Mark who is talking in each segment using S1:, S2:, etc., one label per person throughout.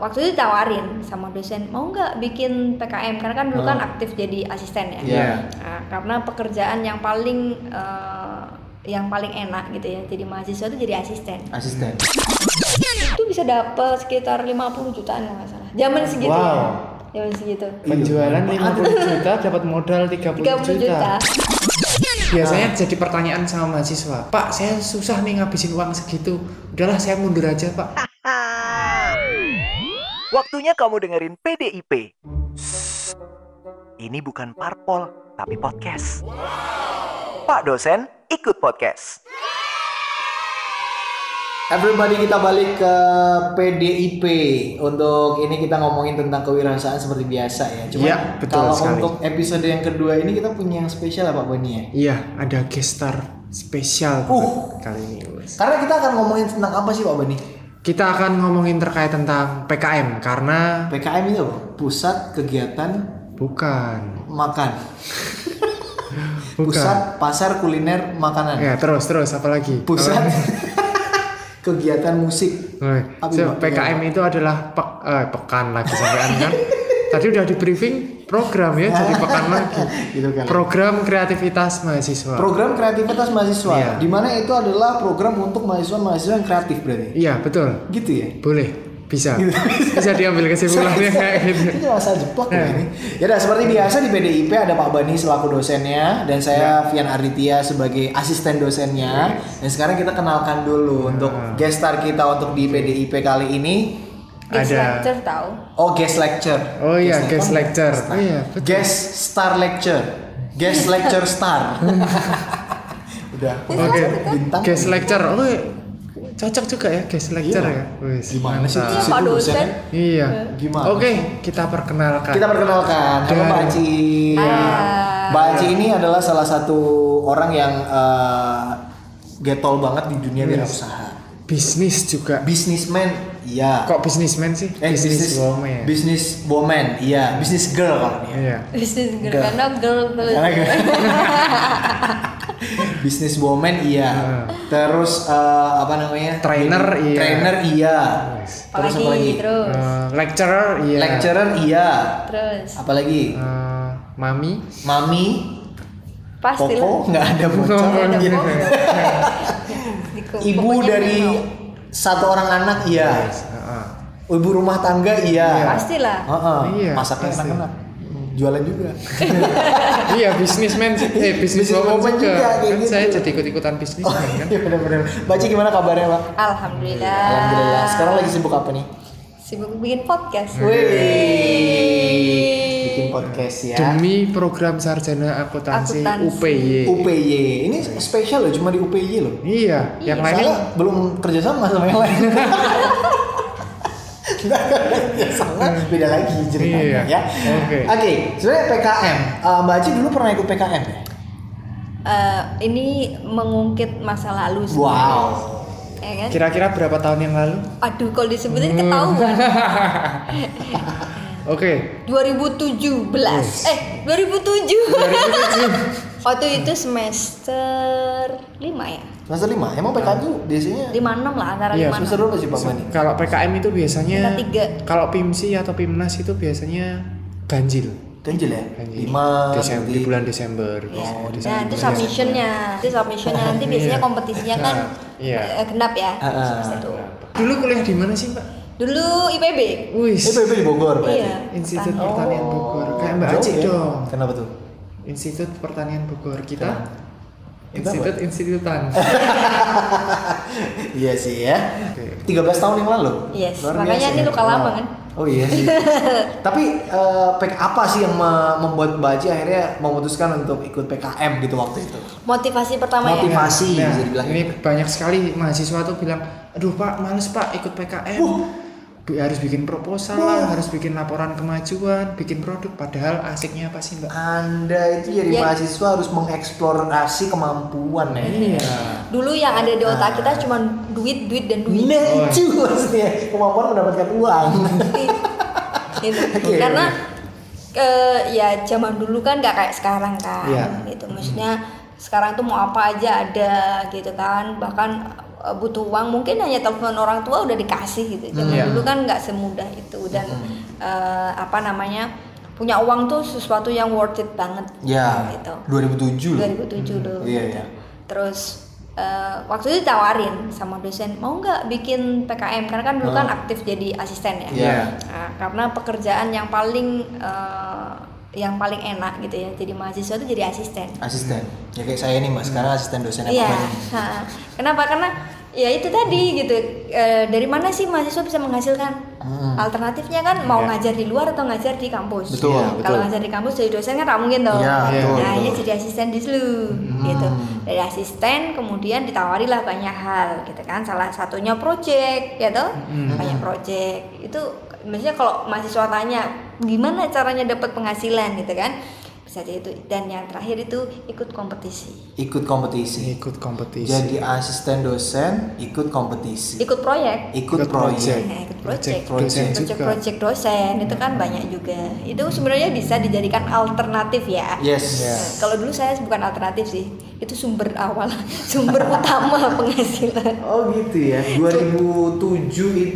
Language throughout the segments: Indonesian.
S1: waktu itu ditawarin sama dosen mau nggak bikin PKM karena kan dulu kan
S2: Oh.
S1: aktif jadi asisten ya.
S2: Iya.
S1: Nah, karena pekerjaan yang paling eh, yang paling enak gitu ya jadi mahasiswa itu jadi asisten
S2: Asisten.
S1: itu bisa dapat sekitar 50 jutaan kalau nggak salah zaman segitu
S3: Wow.
S1: ya zaman segitu
S3: Penjualan 50 juta dapat modal 30,
S1: 30 juta
S3: Biasanya jadi pertanyaan sama mahasiswa. Pak, saya susah nih ngabisin uang segitu. Udahlah, saya mundur aja, Pak.
S4: Waktunya kamu dengerin PDIP. Sss. Ini bukan parpol, tapi podcast. Pak dosen, ikut podcast.
S2: Everybody kita balik ke PDIP untuk ini kita ngomongin tentang kewirausahaan seperti biasa ya. Cuma
S3: Iya, betul
S2: kalau
S3: sekali.
S2: untuk episode yang kedua ini kita punya yang spesial apa Boni ya?
S3: Iya, ada guest star spesial
S2: Uh.
S3: kali ini. Mas.
S2: Karena kita akan ngomongin tentang apa sih Pak Boni?
S3: Kita akan ngomongin terkait tentang PKM karena
S2: PKM itu apa? pusat kegiatan
S3: bukan,
S2: makan,
S3: bukan.
S2: pusat pasar kuliner makanan,
S3: Ya, terus terus apalagi?
S2: pusat kegiatan musik.
S3: Woi,
S2: Apa
S3: so,
S2: maksudnya?
S3: PKM itu adalah pek- eh, pekan lagi sampean kan. Tadi udah di briefing program ya, jadi pekan lagi.
S2: Gitu
S3: Iya.
S2: kali.
S3: Program kreativitas mahasiswa.
S2: Program kreativitas mahasiswa,
S3: Iya.
S2: di mana itu adalah program untuk mahasiswa-mahasiswa yang kreatif berarti.
S3: iya, betul.
S2: Gitu ya.
S3: Boleh, bisa. bisa diambil kesimpulannya kayak gitu.
S2: Ini rasa jeplak ya ini. Ya udah seperti biasa di PDIP ada Pak Bani selaku dosennya dan
S3: Ya.
S2: saya Fian Arditya sebagai asisten dosennya. Dan sekarang kita kenalkan
S3: Ya.
S2: dulu untuk guest star kita untuk di PDIP kali ini.
S1: guest
S3: Ada.
S1: lecture tahu
S2: Oh, guest lecture.
S3: Oh iya, guest lecture.
S2: Star.
S3: Iya, betul.
S2: guest star lecture. Guest lecture star. udah.
S3: Oke,
S2: Bintang.
S3: guest lecture. Oh, cocok juga ya guest lecture
S2: Iya.
S3: ya. Wis,
S2: Gimana sih?
S3: mantap.
S1: Iya, Pak
S2: Situ
S1: dosen.
S2: dosennya.
S3: Iya.
S2: Gimana?
S3: Oke, kita perkenalkan.
S2: Kita perkenalkan, halo
S3: Dan-
S2: Mbak Aci.
S3: Iya.
S1: Hai.
S2: Mbak Aci ini adalah salah satu orang yang eh, getol banget di dunia wirausaha.
S3: bisnis juga.
S2: Businessman, iya.
S3: Kok bisnismen sih?
S2: Eh, bisnis
S3: woman.
S2: Bisnis woman, iya. Bisnis girl kalau dia.
S3: Iya.
S1: bisnis girl
S2: Enggak.
S1: karena girl terus
S2: Karena girl. Bisnis woman, iya. Terus eh, apa namanya?
S3: Trainer, iya.
S2: Trainer, iya. Terus apa lagi?
S1: apalagi terus
S3: Eh, lecturer, iya.
S2: Lecturer, iya.
S1: terus
S2: Apalagi?
S3: Eh, mami.
S2: Mami,
S1: pasti
S2: Koko, nggak ada bocor.
S3: Oh,
S1: ada
S3: gitu.
S1: bocor.
S2: Ibu dari satu orang anak, iya.
S3: Heeh.
S2: Oh, Ibu rumah tangga iya.
S1: pastilah
S2: Heeh.
S3: Iya,
S2: Masaknya
S3: pasti.
S2: enak-enak. Jualan juga.
S3: iya, bisnismen sih. Eh, bisnis woman
S2: Businesswoman
S3: juga.
S2: juga, kayak
S3: Kan
S2: gitu.
S3: saya jadi ikut-ikutan bisnis
S2: Oh,
S3: kan.
S2: iya benar-benar. Baci gimana kabarnya, Pak?
S1: alhamdulillah Ah.
S2: Alhamdulillah. Sekarang lagi sibuk apa nih?
S1: sibuk bikin podcast
S2: Wih. Bikin podcast ya.
S3: Demi program sarjana akuntansi
S1: Akuntansi.
S3: UPY.
S2: UPY. Ini spesial loh, cuma di UPY loh.
S3: Iya, yang
S2: Saya
S3: lainnya
S2: belum kerja sama sama yang lain. Nggak kerja sama, beda lagi ceritanya
S3: Iya.
S2: ya.
S3: Oke.
S2: Oke, sebenarnya PKM. Eh, Mbak Aci dulu pernah ikut PKM ya?
S1: Eh, ini mengungkit masa lalu sebenarnya.
S2: Wow.
S1: ya kan?
S3: kira-kira berapa tahun yang lalu?
S1: aduh kalau
S2: Hmm.
S1: disebutin ketahuan
S3: Oke.
S1: 2017 eh 2007 waktu itu semester 5 ya
S2: Semester 5. Emang PKM tuh biasanya
S1: 56 lah antara
S3: Iya,
S1: 5
S2: semester berapa sih Pak Bani?
S3: Kalau PKM itu biasanya
S1: Kita tiga.
S3: kalau PIMSI atau PIMNAS itu biasanya ganjil.
S2: Ganjil ya?
S3: Ganjil.
S2: 5
S3: Desember, di bulan Desember.
S2: Oh,
S1: Ya.
S3: Desember.
S1: Nah itu
S2: Iya,
S1: submissionnya, itu submissionnya nanti biasanya
S3: Iya.
S1: kompetisinya kan
S3: Iya.
S1: eh, genap ya
S2: Ah, ah.
S1: semester itu.
S3: Dulu kuliah di mana sih, Mbak?
S1: Dulu IPB,
S2: Iya.
S3: Wis.
S2: Itu di Bogor berarti? Oh.
S1: iya.
S3: Institut
S1: Pertanian.
S3: Pertanian Bogor. Kayak Mbak
S2: Jauh
S3: Aci
S2: ya?
S3: dong.
S2: Kenapa tuh?
S3: Institut Pertanian Bogor kita.
S2: Kita
S3: Institut institutan.
S2: iya sih ya. 13 tahun yang lalu.
S1: Yes,
S2: Luar
S1: makanya
S2: biasa
S1: ini
S2: ya.
S1: luka lama
S2: Wow.
S1: kan?
S2: Oh iya sih. Tapi eh, PK apa sih yang me- membuat Mbak Aci akhirnya memutuskan untuk ikut PKM gitu waktu itu?
S1: Motivasi pertama ya.
S2: Motivasi
S3: Nah,
S2: bisa dibilang.
S3: ini banyak sekali mahasiswa tuh bilang, aduh pak males pak ikut PKM, Bi- harus bikin proposal lah, harus bikin laporan kemajuan, bikin produk, padahal asiknya apa sih mbak?
S2: Anda itu
S1: Iya.
S2: jadi mahasiswa harus mengeksplorasi kemampuan ya.
S1: Dulu yang ada di otak kita cuma duit, duit dan duit.
S2: Nah, itu maksudnya kemampuan mendapatkan uang.
S1: Gitu.
S2: Oke.
S1: Karena eh, ya zaman dulu kan nggak kayak sekarang kan,
S2: Iya.
S1: gitu. Maksudnya sekarang tuh mau apa aja ada gitu kan. Bahkan eh, butuh uang mungkin hanya telepon orang tua udah dikasih gitu. Zaman
S3: Iya.
S1: dulu kan nggak semudah itu dan eh, apa namanya punya uang tuh sesuatu yang worth it banget.
S2: Ya,
S1: Gitu.
S2: 2007 loh.
S1: 2007 dulu.
S2: Iya,
S1: gitu.
S2: iya.
S1: Terus eh, waktu itu ditawarin sama dosen mau nggak bikin PKM karena kan dulu kan
S2: Oh.
S1: aktif jadi asisten ya.
S2: Iya.
S1: Nah, karena pekerjaan yang paling eh, yang paling enak gitu ya jadi mahasiswa itu jadi asisten.
S2: Asisten. Ya kayak saya nih Mas, sekarang asisten dosen
S1: Iya.
S2: apa nih?
S1: ha. Kenapa? Karena ya itu tadi gitu. eh, dari mana sih mahasiswa bisa menghasilkan?
S2: Hmm.
S1: Alternatifnya kan mau
S3: Iya.
S1: ngajar di luar atau ngajar di kampus.
S2: Betul,
S1: Iya,
S2: betul.
S1: Kalau ngajar di kampus jadi dosen kan tak mungkin toh.
S2: Iya,
S3: betul,
S1: Nah, ini
S2: betul.
S1: jadi asisten di SLU gitu. Dari asisten kemudian ditawarilah banyak hal gitu kan. Salah satunya project ya toh. Banyak project. Itu maksudnya kalau mahasiswa tanya gimana caranya dapat penghasilan gitu kan bisa jadi itu dan yang terakhir itu ikut kompetisi
S2: Ikut kompetisi.
S3: ikut kompetisi
S2: Jadi asisten dosen ikut kompetisi.
S1: ikut proyek
S2: Ikut
S3: Ikut
S2: proyek.
S1: Nah, ikut proyek
S2: Dosen
S3: project juga
S1: proyek-proyek dosen itu kan banyak juga itu sebenarnya bisa dijadikan alternatif ya
S2: Yes.
S3: Iya.
S1: kalau dulu saya bukan alternatif sih itu sumber awal sumber utama penghasilan
S2: Oh gitu ya. 2007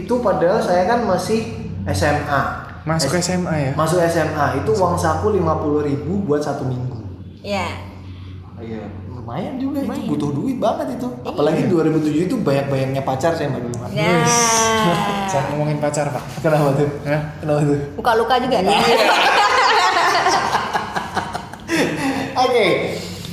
S2: itu padahal saya kan masih SMA.
S3: masuk
S2: S-
S3: SMA ya
S2: Masuk SMA itu uang saku 50.000 buat satu minggu.
S1: ya
S2: Iya. Lumayan juga itu
S1: Lumayan. Iya.
S2: butuh duit banget itu. Apalagi 2007 itu banyak-banyaknya pacar saya Mbak Dulma.
S1: ya
S3: jangan ngomongin pacar pak
S2: Kenapa tuh?
S3: Hah?
S2: Kenapa tuh?
S1: buka luka juga ya
S2: Oke.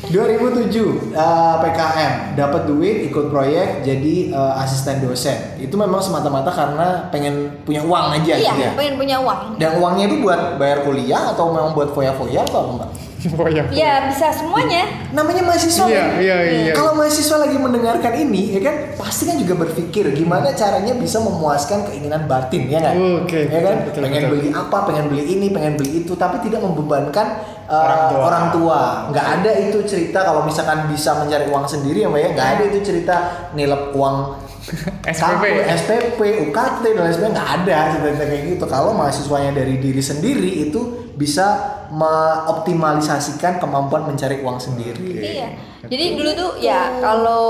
S2: 2007 eh, PKM dapat duit ikut proyek jadi eh, asisten dosen. Itu memang semata-mata karena pengen punya uang aja
S1: iya
S2: gitu ya.
S1: pengen punya uang
S2: Dan uangnya itu buat bayar kuliah atau memang buat foya-foya atau apa Mbak?
S3: oh ya
S1: ya bisa semuanya
S2: Namanya mahasiswa.
S3: iya
S2: kan?
S3: iya iya
S2: Kalau mahasiswa lagi mendengarkan ini, ya kan pasti kan juga berpikir gimana caranya bisa memuaskan keinginan batin, ya kan?
S3: Oke,
S2: ya kan?
S3: betul, betul,
S2: pengen
S3: betul.
S2: beli apa, pengen beli ini, pengen beli itu, tapi tidak membebankan eh,
S3: Orang tua.
S2: orang tua. Nggak ada itu cerita kalau misalkan bisa mencari uang sendiri ya, Mbak ya. Nggak ada itu cerita nilep uang
S3: SPP.
S2: saku, SPP, UKT dan lain sebagainya nggak ada cerita kayak gitu. Kalau mahasiswanya dari diri sendiri itu bisa mengoptimalisasikan kemampuan mencari uang sendiri.
S1: Iya. Jadi dulu tuh ya kalau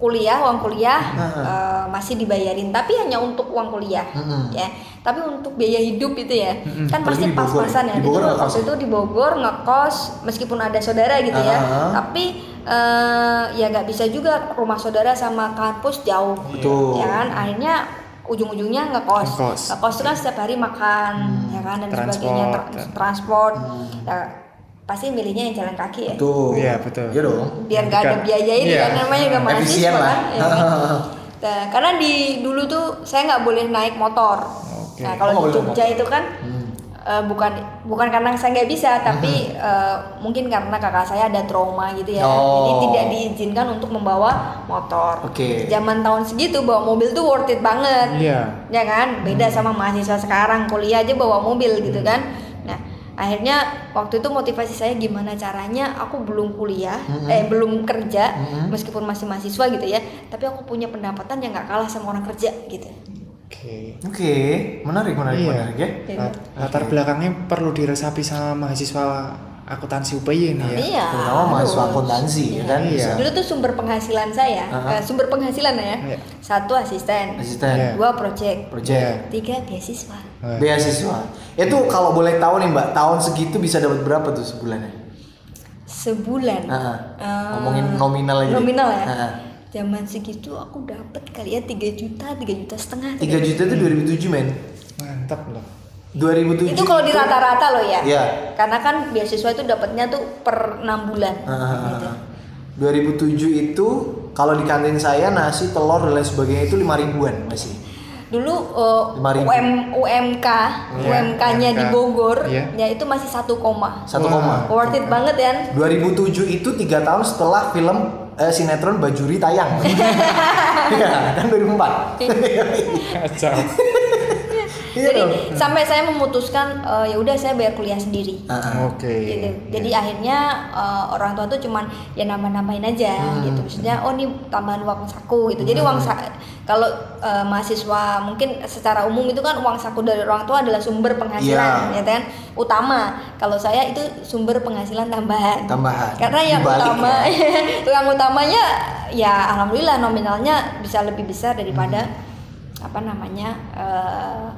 S1: kuliah uang kuliah
S2: Heeh.
S1: eh, masih dibayarin tapi hanya untuk uang kuliah
S2: Heeh.
S1: ya. Tapi untuk biaya hidup itu ya kan
S2: Apalagi
S1: pasti
S2: di Bogor
S1: pas-pasan
S2: ya?
S1: ya.
S2: Di Bogor
S1: Dulu
S2: ngekos
S1: waktu
S2: ya?
S1: itu di Bogor ngekos meskipun ada saudara gitu ya.
S2: Heeh.
S1: Tapi eh, ya nggak bisa juga rumah saudara sama kampus jauh.
S2: Iya. Betul.
S1: Ya kan akhirnya ujung-ujungnya ngekos.
S3: Ngekos.
S1: Ngekos itu kan setiap hari makan
S2: Hmm.
S1: ya kan dan sebagainya
S3: Transport.
S1: Tra- transport. Ya, pasti milihnya yang jalan kaki ya
S2: Betul.
S3: Iya, betul.
S2: Iya dong.
S1: biar nggak ada
S3: Bukan.
S1: biaya ini
S3: Iya.
S1: kan namanya juga mahasiswa
S2: Efisien lah.
S1: kan ya kan? Nah, karena di dulu tuh saya nggak boleh naik motor
S3: Oke.
S1: nah kalau
S2: Oh,
S1: di
S2: nggak boleh
S1: Jogja itu kan eh, bukan bukan karena saya nggak
S2: Mm-hmm.
S1: bisa tapi eh, mungkin karena kakak saya ada trauma gitu ya jadi
S2: Oh.
S1: tidak diizinkan untuk membawa motor
S2: Oke.
S1: zaman tahun segitu bawa mobil tuh worth it banget
S3: iya
S1: ya kan beda
S2: Hmm.
S1: sama mahasiswa sekarang kuliah aja bawa mobil gitu kan
S2: Hmm.
S1: nah akhirnya waktu itu motivasi saya gimana caranya aku belum kuliah
S2: Hmm.
S1: eh belum kerja meskipun masih mahasiswa gitu ya tapi aku punya pendapatan yang nggak kalah sama orang kerja gitu
S3: oke
S2: Oke, menarik, menarik,
S3: Iya.
S2: menarik ya.
S1: Jadi,
S3: Lat- latar belakangnya perlu diresapi sama mahasiswa akuntansi UPI ini ya
S1: iya
S2: Terutama mahasiswa
S1: terus.
S2: akuntansi ya kan
S3: Iya.
S2: bisa.
S1: dulu tuh sumber penghasilan saya
S2: Aha.
S1: eh, sumber penghasilan ya
S3: Iya.
S1: satu asisten
S2: Asisten,
S3: Iya.
S1: dua project
S2: project,
S1: tiga beasiswa
S3: Wah.
S2: beasiswa. Itu kalau boleh tahu nih Mbak, tahun segitu bisa dapat berapa tuh sebulannya?
S1: sebulan
S2: Heeh.
S1: Eh,
S2: Ah, Ngomongin nominal aja Ah. deh.
S1: nominal ya
S2: Heeh.
S1: zaman segitu aku dapat kali ya 3 juta 3 juta setengah
S2: 3 juta
S1: Iya.
S2: itu 2007 men.
S3: mantap loh
S2: 2007.
S1: itu kalau di rata-rata loh ya
S2: Iya.
S1: karena kan beasiswa itu dapatnya tuh per enam bulan
S2: Ah,
S1: gitu.
S2: Heeh. 2007 itu kalau di kantin saya nasi, telur dan lain sebagainya itu 5 ribuan masih.
S1: dulu eh,
S2: Lima ribu.
S1: UM, UMK
S3: Iya,
S1: UMK-nya di
S3: UMK.
S1: Bogor
S3: Iya.
S1: ya itu masih 1 koma
S2: Satu
S3: Wah.
S2: koma.
S1: worth it banget ya
S2: 2007 itu tiga tahun setelah film eh, sinetron Bajuri tayang. Iya, kan 2004.
S3: kacau
S2: Iya
S1: jadi
S2: dong.
S1: sampai saya memutuskan eh, ya udah saya bayar kuliah sendiri
S3: oke
S1: gitu.
S3: iya.
S1: Jadi akhirnya uh, orang tua tuh cuman ya nambah-nambahin aja gitu. Maksudnya oh ini tambahan uang saku gitu. Jadi uang sa- kalau uh, mahasiswa mungkin secara umum itu kan uang saku dari orang tua adalah sumber penghasilan ya
S2: Iya.
S1: kan utama. Kalau saya itu sumber penghasilan tambahan.
S2: Tambahan.
S1: Karena yang
S2: Dibalik
S1: utama yang utamanya ya alhamdulillah nominalnya bisa lebih besar daripada apa namanya eh,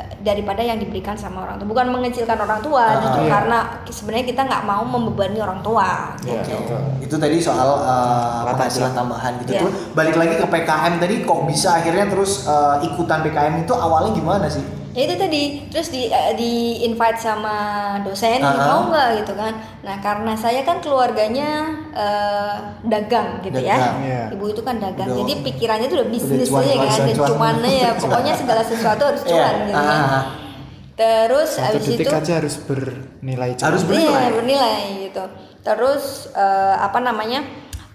S1: eh, daripada yang diberikan sama orang tua bukan mengecilkan orang tua justru
S2: iya.
S1: karena sebenarnya kita nggak mau membebani orang tua Gitu.
S3: Iya,
S2: Oke.
S3: betul.
S2: Itu tadi soal uh, penghasilan tambahan gitu
S1: Iya.
S2: tuh. Balik lagi ke PKM tadi kok bisa akhirnya terus uh, ikutan PKM itu awalnya gimana sih?
S1: ya itu tadi terus di eh, di invite sama dosen
S2: Ah, ah.
S1: mau nggak gitu kan nah karena saya kan keluarganya eh, dagang gitu
S2: Dagang,
S1: ya
S3: iya.
S1: ibu itu kan dagang
S2: Udah-
S1: jadi pikirannya itu udah bisnis
S2: cuan,
S1: aja
S2: cuan,
S1: kan
S2: cuan,
S1: dan
S2: cuan.
S1: cuannya ya pokoknya segala sesuatu harus
S2: Iya.
S1: cuan gitu kan
S2: Ah, ah.
S1: terus
S3: Satu
S1: abis
S3: detik
S1: itu
S2: kan
S3: aja harus bernilai jual.
S2: Harus
S1: Iya
S2: bernilai.
S1: bernilai gitu. Terus eh, apa namanya?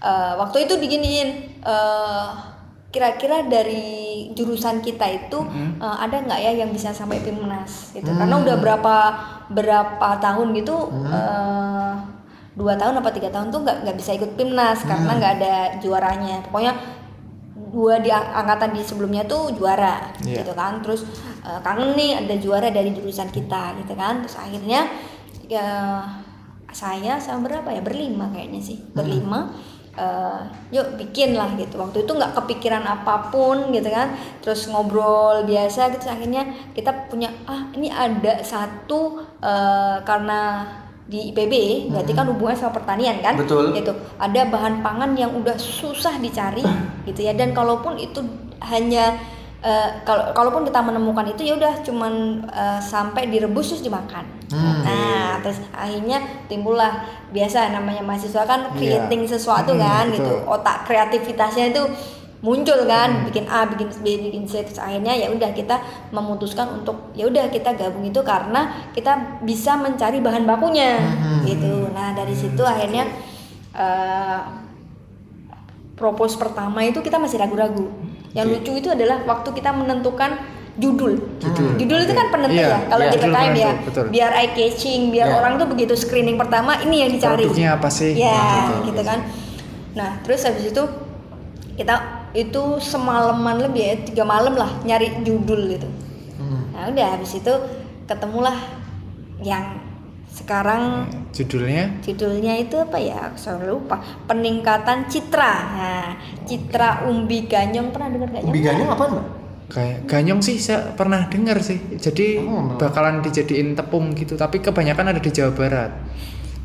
S1: eh, waktu itu diginiin eh, kira-kira dari jurusan kita itu
S2: Hmm.
S1: eh, ada nggak ya yang bisa sampai timnas gitu? Karena udah berapa berapa tahun gitu.
S2: Hmm.
S1: eh, dua tahun apa tiga tahun tuh nggak nggak bisa ikut timnas karena
S2: Hmm.
S1: nggak ada juaranya pokoknya dua di ang- angkatan di sebelumnya tuh juara
S3: Iya.
S1: gitu kan terus eh, kangen nih ada juara dari jurusan kita gitu kan terus akhirnya ya, saya sama berapa ya berlima kayaknya sih berlima eh, yuk bikin lah gitu waktu itu nggak kepikiran apapun gitu kan terus ngobrol biasa gitu Terus akhirnya kita punya ah ini ada satu eh, karena di IPB berarti kan hubungannya sama pertanian kan
S2: Betul.
S1: gitu ada bahan pangan yang udah susah dicari gitu ya dan kalaupun itu hanya eh, kalau kalaupun kita menemukan itu ya udah cuman eh, sampai direbus terus dimakan
S2: Hmm.
S1: nah terus akhirnya timbullah biasa namanya mahasiswa kan
S3: Iya.
S1: creating sesuatu
S3: Hmm,
S1: kan gitu
S3: betul.
S1: otak kreativitasnya itu muncul kan bikin A bikin B bikin C terus akhirnya ya udah kita memutuskan untuk ya udah kita gabung itu karena kita bisa mencari bahan bakunya gitu nah dari situ akhirnya eh, propose pertama itu kita masih ragu-ragu yang lucu itu adalah waktu kita menentukan judul
S3: Judul,
S1: itu
S3: oke.
S1: kan penentu
S3: Iya,
S1: ya kalau
S3: iya,
S1: di
S3: judul
S1: PKM ya
S3: penentu, betul.
S1: biar eye catching biar
S2: Iya.
S1: orang tuh begitu screening pertama ini yang dicari
S3: Produknya apa sih?
S1: ya
S3: Nah, gitu.
S1: gitu kan nah terus habis itu kita itu semalaman lebih ya tiga malam lah nyari judul gitu
S3: Hmm.
S1: nah udah habis itu ketemulah yang sekarang
S3: Judulnya
S1: judulnya itu apa ya aku selalu lupa peningkatan citra nah citra umbi ganyong pernah dengar gak
S2: Ubi ganyong apa mbak?
S3: kayak ganyong sih saya pernah dengar sih. Jadi
S2: Oh.
S3: bakalan dijadiin tepung gitu, tapi kebanyakan ada di Jawa Barat.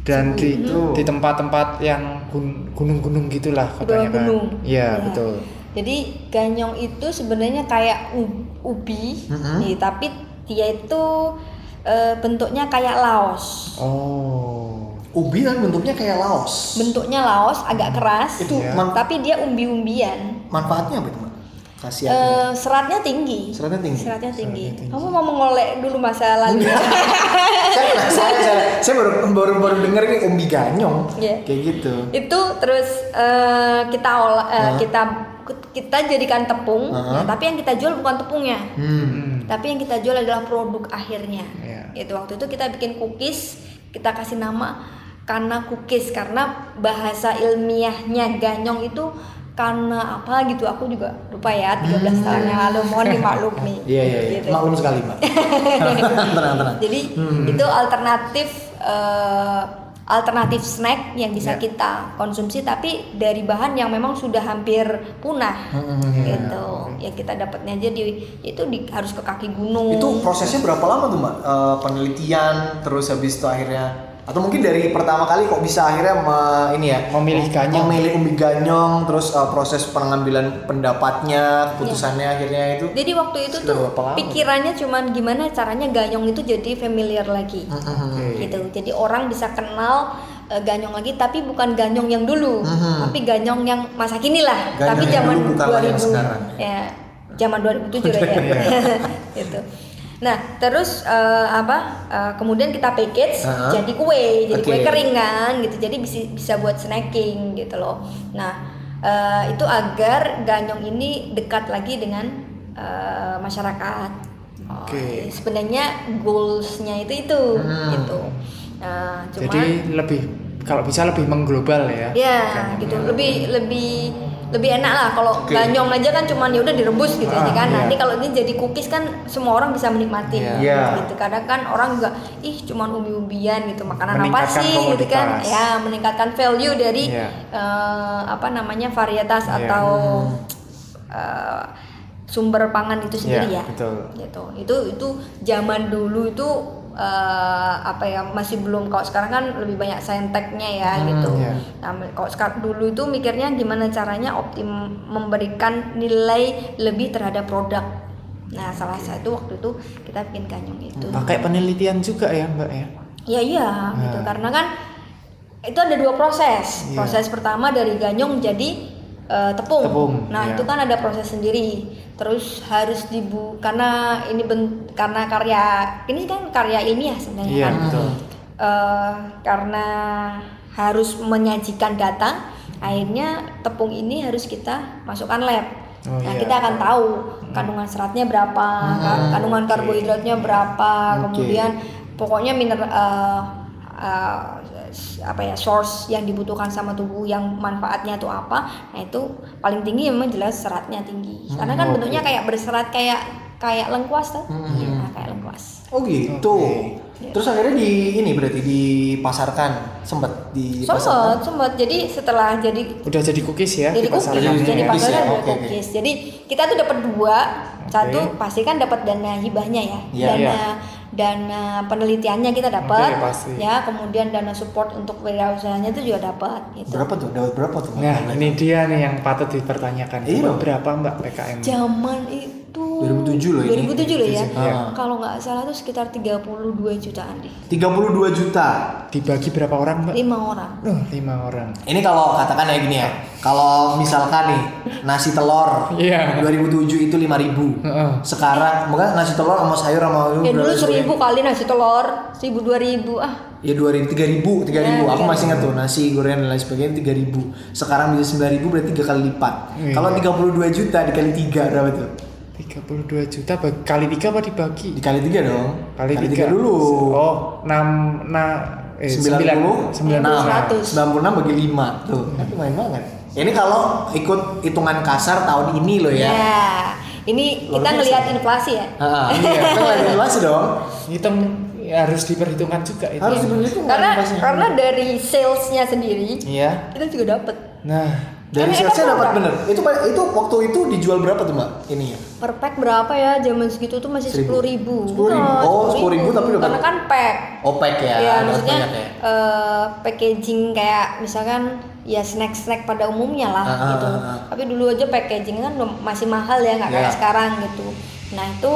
S3: Dan di
S2: Gitu.
S3: di tempat-tempat yang gun- gunung-gunung
S1: Di
S3: gitulah
S1: bawah
S3: kebanyakan.
S1: gunung.
S3: Iya,
S1: Ya.
S3: betul.
S1: Jadi ganyong itu sebenarnya kayak u- ubi, nih, tapi dia itu eh, bentuknya kayak laos.
S3: Oh.
S2: Ubi kan bentuknya kayak laos.
S1: Bentuknya laos agak keras,
S2: Itu
S3: Iya.
S2: man-
S1: tapi dia umbi-umbian.
S2: manfaatnya apa itu mbak? Kasihan.
S1: Eh, seratnya tinggi.
S2: Ya. Seratnya tinggi.
S1: Seratnya tinggi.
S3: tinggi.
S1: Kamu mau mengolek dulu masa lalu?
S2: saya, saya, saya, saya baru baru baru denger nih umbi ganyong
S1: Iya.
S2: kayak gitu.
S1: itu terus eh, kita olah, eh, kita kita jadikan tepung, ya,
S2: Heeh.
S1: tapi yang kita jual bukan tepungnya.
S2: Hmm.
S3: Hmm.
S1: tapi yang kita jual adalah produk akhirnya
S3: Iya.
S1: itu waktu itu kita bikin cookies kita kasih nama karena cookies karena bahasa ilmiahnya ganyong itu karena apa gitu aku juga lupa ya 13 tahun yang lalu mohon dimaklumi
S2: Hmm. Iya iya iya.
S1: Gitu. Iya.
S2: Maklum Hmm. sekali mbak. tenang tenang.
S1: jadi itu alternatif eh, alternatif snack yang bisa
S3: Iya.
S1: kita konsumsi tapi dari bahan yang memang sudah hampir punah
S2: Hmm.
S1: gitu ya kita dapatnya aja di itu di, harus ke kaki gunung
S2: Itu prosesnya berapa lama tuh mbak? Eh, penelitian terus habis itu akhirnya atau mungkin dari pertama kali kok bisa akhirnya me- ini ya
S3: Memilih ganyong.
S2: memilih umbi ganyong terus eh, proses pengambilan pendapatnya keputusannya akhirnya itu
S1: Jadi waktu itu
S2: Sudah
S1: tuh
S2: berapa lama?
S1: pikirannya cuman gimana caranya ganyong itu jadi familiar lagi.
S2: Hmm.
S1: Gitu. Jadi orang bisa kenal eh, ganyong lagi tapi bukan ganyong yang dulu, tapi ganyong yang masa kini lah.
S2: Hmm. Ganyong
S1: tapi
S2: yang
S1: zaman
S2: dulu bukanlah yang sekarang. Iya.
S1: Ya, zaman 2007 lah ya. gitu. Nah, terus eh, apa? eh, kemudian kita package
S2: Aha.
S1: jadi kue, jadi kue
S2: Uh-huh. Oke.
S1: kering kan gitu jadi bisa bisa buat snacking gitu loh nah eh, itu agar ganyong ini dekat lagi dengan eh, masyarakat Oh,
S3: Oke.
S1: sebenarnya goalsnya itu itu gitu Nah, cuman
S3: Jadi lebih kalau bisa lebih mengglobal ya.
S1: ya
S3: Ganyongnya.
S1: gitu lebih lebih lebih enak lah kalau
S2: Oke.
S1: ganyong aja kan cuman ya udah direbus gitu
S2: Ah,
S1: ya kan.
S2: iya.
S1: Nanti kalau ini jadi cookies kan semua orang bisa menikmati
S2: Iya.
S1: gitu.
S2: Iya.
S1: gitu. Kadang kan orang juga ih cuman ubi-ubian gitu makanan apa
S3: Meningkatkan
S1: sih gitu kan.
S3: komoditas.
S1: Ya meningkatkan value dari
S3: Iya.
S1: eh, apa namanya varietas
S3: Iya.
S1: atau eh, sumber pangan itu sendiri
S3: Iya,
S1: ya.
S3: betul.
S1: Gitu. Itu itu zaman dulu itu eh, apa ya masih belum kalau sekarang kan lebih banyak sainteknya ya
S2: Hmm,
S1: gitu.
S2: iya.
S1: Nah, me- kalau sekarang dulu itu mikirnya gimana caranya optim memberikan nilai lebih terhadap produk. Nah, salah satu waktu itu kita bikin ganyong itu.
S3: Hmm, Pakai penelitian juga ya Mbak ya.
S1: Ya iya, gitu. Karena kan itu ada dua proses.
S3: Iya.
S1: Proses pertama dari ganyong menjadi eh, tepung.
S3: Tepung,
S1: Nah,
S3: iya.
S1: itu kan ada proses sendiri. Terus harus dibu karena ini ben- karena karya ini kan karya ilmiah sebenarnya
S3: Iya
S1: kan.
S3: betul.
S1: Eh, karena harus menyajikan data, akhirnya tepung ini harus kita masukkan lab.
S3: Oh,
S1: nah,
S3: iya. Hmm.
S1: kita akan tahu kandungan seratnya berapa, ka- kandungan karbohidratnya berapa, kemudian pokoknya mineral eh, apa ya source yang dibutuhkan sama tubuh yang manfaatnya itu apa. Nah, itu paling tinggi memang jelas seratnya tinggi. Karena
S3: Hmm,
S1: kan bentuknya kayak berserat kayak kayak lengkuas tuh.
S3: Hmm.
S1: Nah, kayak lengkuas.
S2: Oh gitu.
S1: Oke.
S2: Terus akhirnya di ini berarti dipasarkan sempet di
S1: Sobat, sobat. Jadi setelah jadi
S3: Udah jadi cookies
S2: Kan
S3: ya
S1: jadi cookies
S3: pasarkan
S2: jadi
S1: jadi
S3: ya.
S2: cookies
S1: pasarnya
S2: ya,
S1: dua
S2: oke, oke.
S1: cookies jadi kita tuh dapat dua satu pasti kan dapat dana hibahnya ya
S2: Iya,
S1: dana
S3: iya.
S1: dana penelitiannya kita dapat
S3: Oke, pasti.
S1: ya kemudian dana support untuk wirausahanya itu juga dapat gitu
S2: Berapa tuh? Dapat berapa tuh?
S3: Nah ini dia nih yang patut dipertanyakan.
S2: Iya.
S3: Coba berapa Mbak PKM?
S1: zaman itu
S2: 2007 loh ini.
S1: 2007 loh ya
S2: Iya.
S1: kalau nggak salah tuh sekitar 32 jutaan deh
S2: 32 juta.
S3: Dibagi berapa orang Mbak?
S1: lima orang
S3: Loh, lima orang.
S2: Ini kalau katakan ya gini ya. Kalau misalkan nih nasi telur
S3: Iya.
S2: 2007 itu 5000.
S3: Heeh.
S2: Sekarang mungkin nasi telur sama sayur sama
S1: ya dulu
S2: Oh, berapa sih?
S1: seribu kali nasi telur seribu dua ribu ah
S2: Ya 2000, 3000, 3000.
S1: Iya, iya.
S2: Aku masih ingat tuh nasi goreng dan lain sebagainya 3000. Sekarang bisa 9000 berarti 3 kali lipat. Kalau 32 juta dikali 3 berapa tuh?
S3: 32 juta bag- kali tiga apa dibagi?
S2: Dikali 3 dong.
S3: Kali,
S2: tiga
S3: tiga
S2: dulu.
S3: Oh, 6 nah eh
S2: 90,
S3: 90.
S1: 100.
S2: 96 bagi 5 tuh. Kan lumayan banget. Ini kalau ikut hitungan kasar tahun ini loh ya.
S1: ya ini
S2: Luar
S1: kita
S2: biasa.
S1: ngelihat inflasi ya
S2: Heeh. Iya, kan ada inflasi dong.
S3: Itu harus diperhitungkan juga itu.
S2: Harus diperhitungkan
S1: karena
S2: inflasinya.
S1: karena dari salesnya sendiri
S2: Iya.
S1: kita juga dapat
S3: Nah,
S2: Dari
S1: Karena
S2: salesnya
S1: kita
S2: dapat
S1: produk.
S2: bener. Itu itu waktu itu dijual berapa tuh, Mbak? ya? Ininya.
S1: per pack berapa ya zaman segitu tuh masih
S2: Seribu.
S1: sepuluh ribu
S2: 10.000. Oh, 10.000 tapi dapat-
S1: karena kan pack
S2: Opek ya.
S1: ya,
S2: dapat
S1: maksudnya
S2: banyak ya.
S1: eh, packaging kayak misalkan ya snack snack pada umumnya lah
S2: Ah, ah,
S1: gitu
S2: ah, ah.
S1: tapi dulu aja packaging kan masih mahal ya nggak
S2: Ya.
S1: kayak sekarang gitu nah itu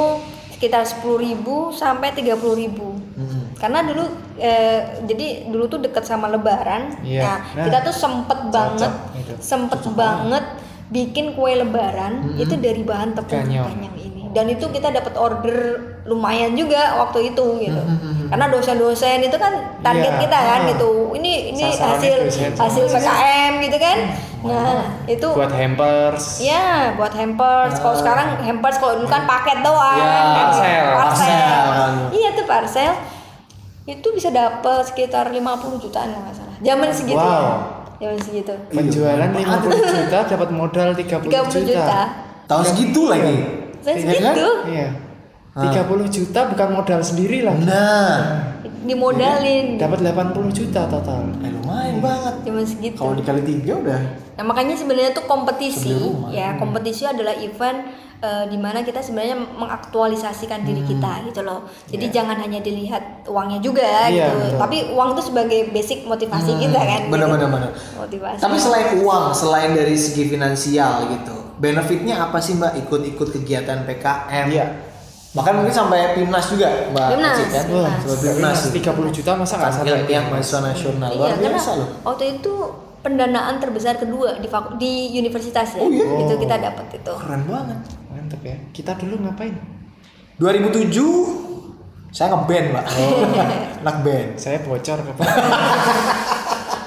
S1: sekitar sepuluh ribu sampai tiga puluh ribu
S2: Hmm.
S1: karena dulu eh, jadi dulu tuh deket sama lebaran
S3: Iya.
S1: nah,
S3: Nah.
S1: kita tuh sempet banget
S3: gitu.
S1: sempet banget bikin kue lebaran itu dari bahan tepung
S3: Ganyong.
S1: ganyang ini dan itu kita dapat order lumayan juga waktu itu gitu karena dosen-dosen itu kan target
S3: Iya.
S1: kita kan
S3: Ah.
S1: gitu ini ini
S3: Sasarannya
S1: hasil
S3: dosen.
S1: hasil PKM gitu kan nah itu
S3: buat hampers.
S1: ya buat hampers kalau sekarang hampers kalau dulu kan paket doang
S2: Ya,
S3: Iya, parcel,
S2: parcel.
S1: iya tuh parcel itu bisa dapat sekitar 50 jutaan kalau nggak salah zaman segitu
S3: Wow.
S1: ya zaman segitu
S3: Penjualan 50 juta dapat modal 30
S1: 30
S3: juta.
S1: juta.
S2: Tahun segitu lagi.
S1: Saya
S2: Iya kan?
S1: segitu
S3: Iya. 30 juta bukan modal sendiri lah.
S2: Nah,
S1: dimodalin.
S2: Iya.
S3: Dapat 80 juta total.
S2: eh, lumayan banget.
S1: Cuman segitu.
S2: Kalau dikali tiga udah
S1: Nah, makanya sebenarnya tuh kompetisi,
S2: Hmm.
S1: ya kompetisi adalah event eh, di dimana kita sebenarnya mengaktualisasikan diri
S2: Hmm.
S1: kita gitu loh. Jadi
S2: Iya.
S1: jangan hanya dilihat uangnya juga
S3: Iya,
S1: gitu,
S3: betul.
S1: tapi uang itu sebagai basic motivasi kita kan. gitu.
S2: bener bener bener.
S1: Motivasi.
S2: Hmm. Tapi selain uang, selain dari segi finansial gitu, benefitnya apa sih Mbak ikut-ikut kegiatan PKM?
S3: Iya.
S2: Bahkan mungkin sampai PIMNAS juga Mbak
S1: Pimnas,
S2: Acik, kan?
S1: Pimnas.
S2: Sampai PIMNAS.
S3: Mas 30 juta masa nggak
S2: Sampai
S3: sampai
S2: yang mahasiswa nasional
S1: Iya,
S2: luar
S1: karena
S2: biasa loh.
S1: waktu itu pendanaan terbesar kedua di faku- di universitas ya.
S2: Oh, iya?
S1: Itu kita dapat itu.
S2: Keren banget.
S3: Mantep ya. Kita dulu ngapain?
S2: 2007 saya ngeband Mbak.
S1: Iya.
S2: Anak band.
S3: Saya bocor ke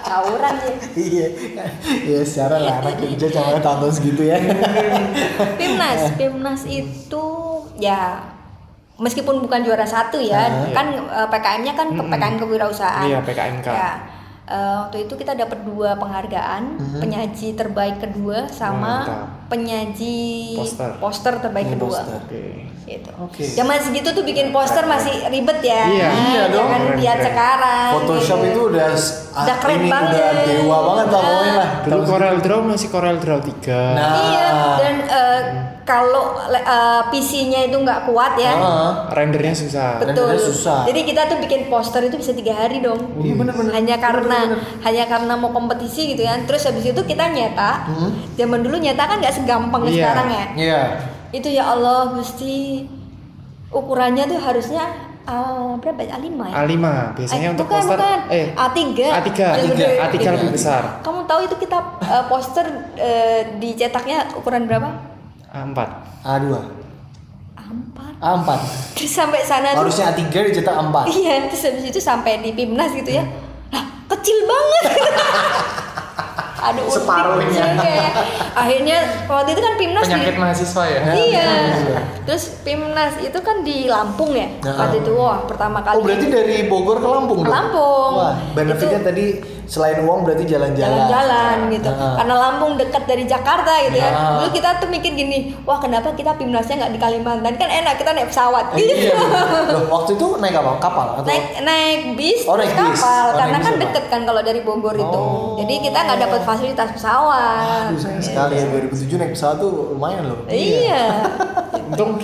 S1: Tawuran sih.
S2: Iya, iya secara lah anak kerja sama tahun segitu ya.
S1: Timnas, Timnas itu ya meskipun bukan juara satu ya, kan eh, PKM-nya kan ke PKM kewirausahaan.
S3: Iya, PKMK.
S1: Ya. eh, waktu itu kita dapat dua penghargaan,
S2: Mhm.
S1: penyaji terbaik kedua sama
S3: Mantap.
S1: penyaji
S3: Poster.
S1: terbaik kedua.
S3: Oke.
S1: Gitu.
S2: Oke.
S1: Zaman segitu tuh bikin poster masih ribet ya.
S3: Iya.
S2: Iya dong.
S1: Jangan
S3: Keren,
S1: lihat
S3: keren.
S1: sekarang.
S2: Photoshop
S1: gitu.
S2: itu udah s-
S1: Udah
S2: ah,
S1: keren
S2: ini
S1: banget.
S2: udah dewa banget lah
S1: Nah.
S2: pokoknya lah.
S3: Dulu Corel Draw masih Corel Draw 3.
S2: Nah.
S1: Iya, dan eh, kalau eh, PC-nya itu nggak kuat ya.
S2: Heeh.
S3: Rendernya susah.
S2: Dan
S1: Betul.
S2: udah susah.
S1: Jadi kita tuh bikin poster itu bisa tiga hari dong.
S2: Iya, bener-bener.
S1: Hanya karena hanya karena mau kompetisi gitu kan. Terus habis itu kita nyata. Zaman dulu nyata kan nggak segampang
S3: Hmm? Iya.
S1: sekarang ya.
S2: Iya.
S1: Itu ya Allah gusti ukurannya tuh harusnya ah, berapa ya? A5 ya?
S3: A5 biasanya
S1: Eh,
S3: untuk
S1: bukan,
S3: poster
S1: bukan.
S3: eh
S1: A3.
S3: A3.
S1: Yang
S2: A3,
S1: gede.
S3: A3 lebih
S1: Gitu.
S3: besar.
S1: Kamu tahu itu kita eh, poster eh, dicetaknya ukuran berapa?
S3: A4.
S2: A2.
S1: Empat.
S2: A4.
S1: Terus sampai sana tuh
S2: Harusnya A3 dicetak 4.
S1: Iya, terus habis itu sampai di Pimnas gitu ya.
S2: Hmm.
S1: Lah, kecil banget. Aduh, unik
S2: Separuhnya.
S1: sih, kayak. Akhirnya waktu itu kan Pimnas di-
S3: Penyakit mahasiswa ya.
S1: Iya. Terus Pimnas itu kan di Lampung ya.
S2: Nah.
S1: Waktu itu wah, pertama kali.
S2: Oh berarti dari Bogor ke Lampung dong?
S1: Lampung.
S2: Wah, benefitnya
S1: Itu-
S2: tadi selain uang berarti jalan-jalan.
S1: jalan-jalan gitu
S2: Nah.
S1: karena Lampung dekat dari Jakarta gitu ya
S2: Nah.
S1: dulu kita tuh mikir gini wah kenapa kita pimnasnya nggak di Kalimantan kan enak kita naik pesawat
S2: Eh,
S1: gitu
S2: iya. Loh, waktu itu naik apa? Kapal atau
S1: naik naik bis
S2: Oh,
S1: terus
S2: naik bis.
S1: kapal
S2: Oh,
S1: karena
S2: naik bis
S1: kan
S2: apa?
S1: deket kan kalau dari Bogor itu
S2: Oh.
S1: jadi kita nggak dapat fasilitas pesawat
S2: Aduh, sayang sekali ya 2007 naik pesawat tuh lumayan loh.
S1: iya
S3: Untung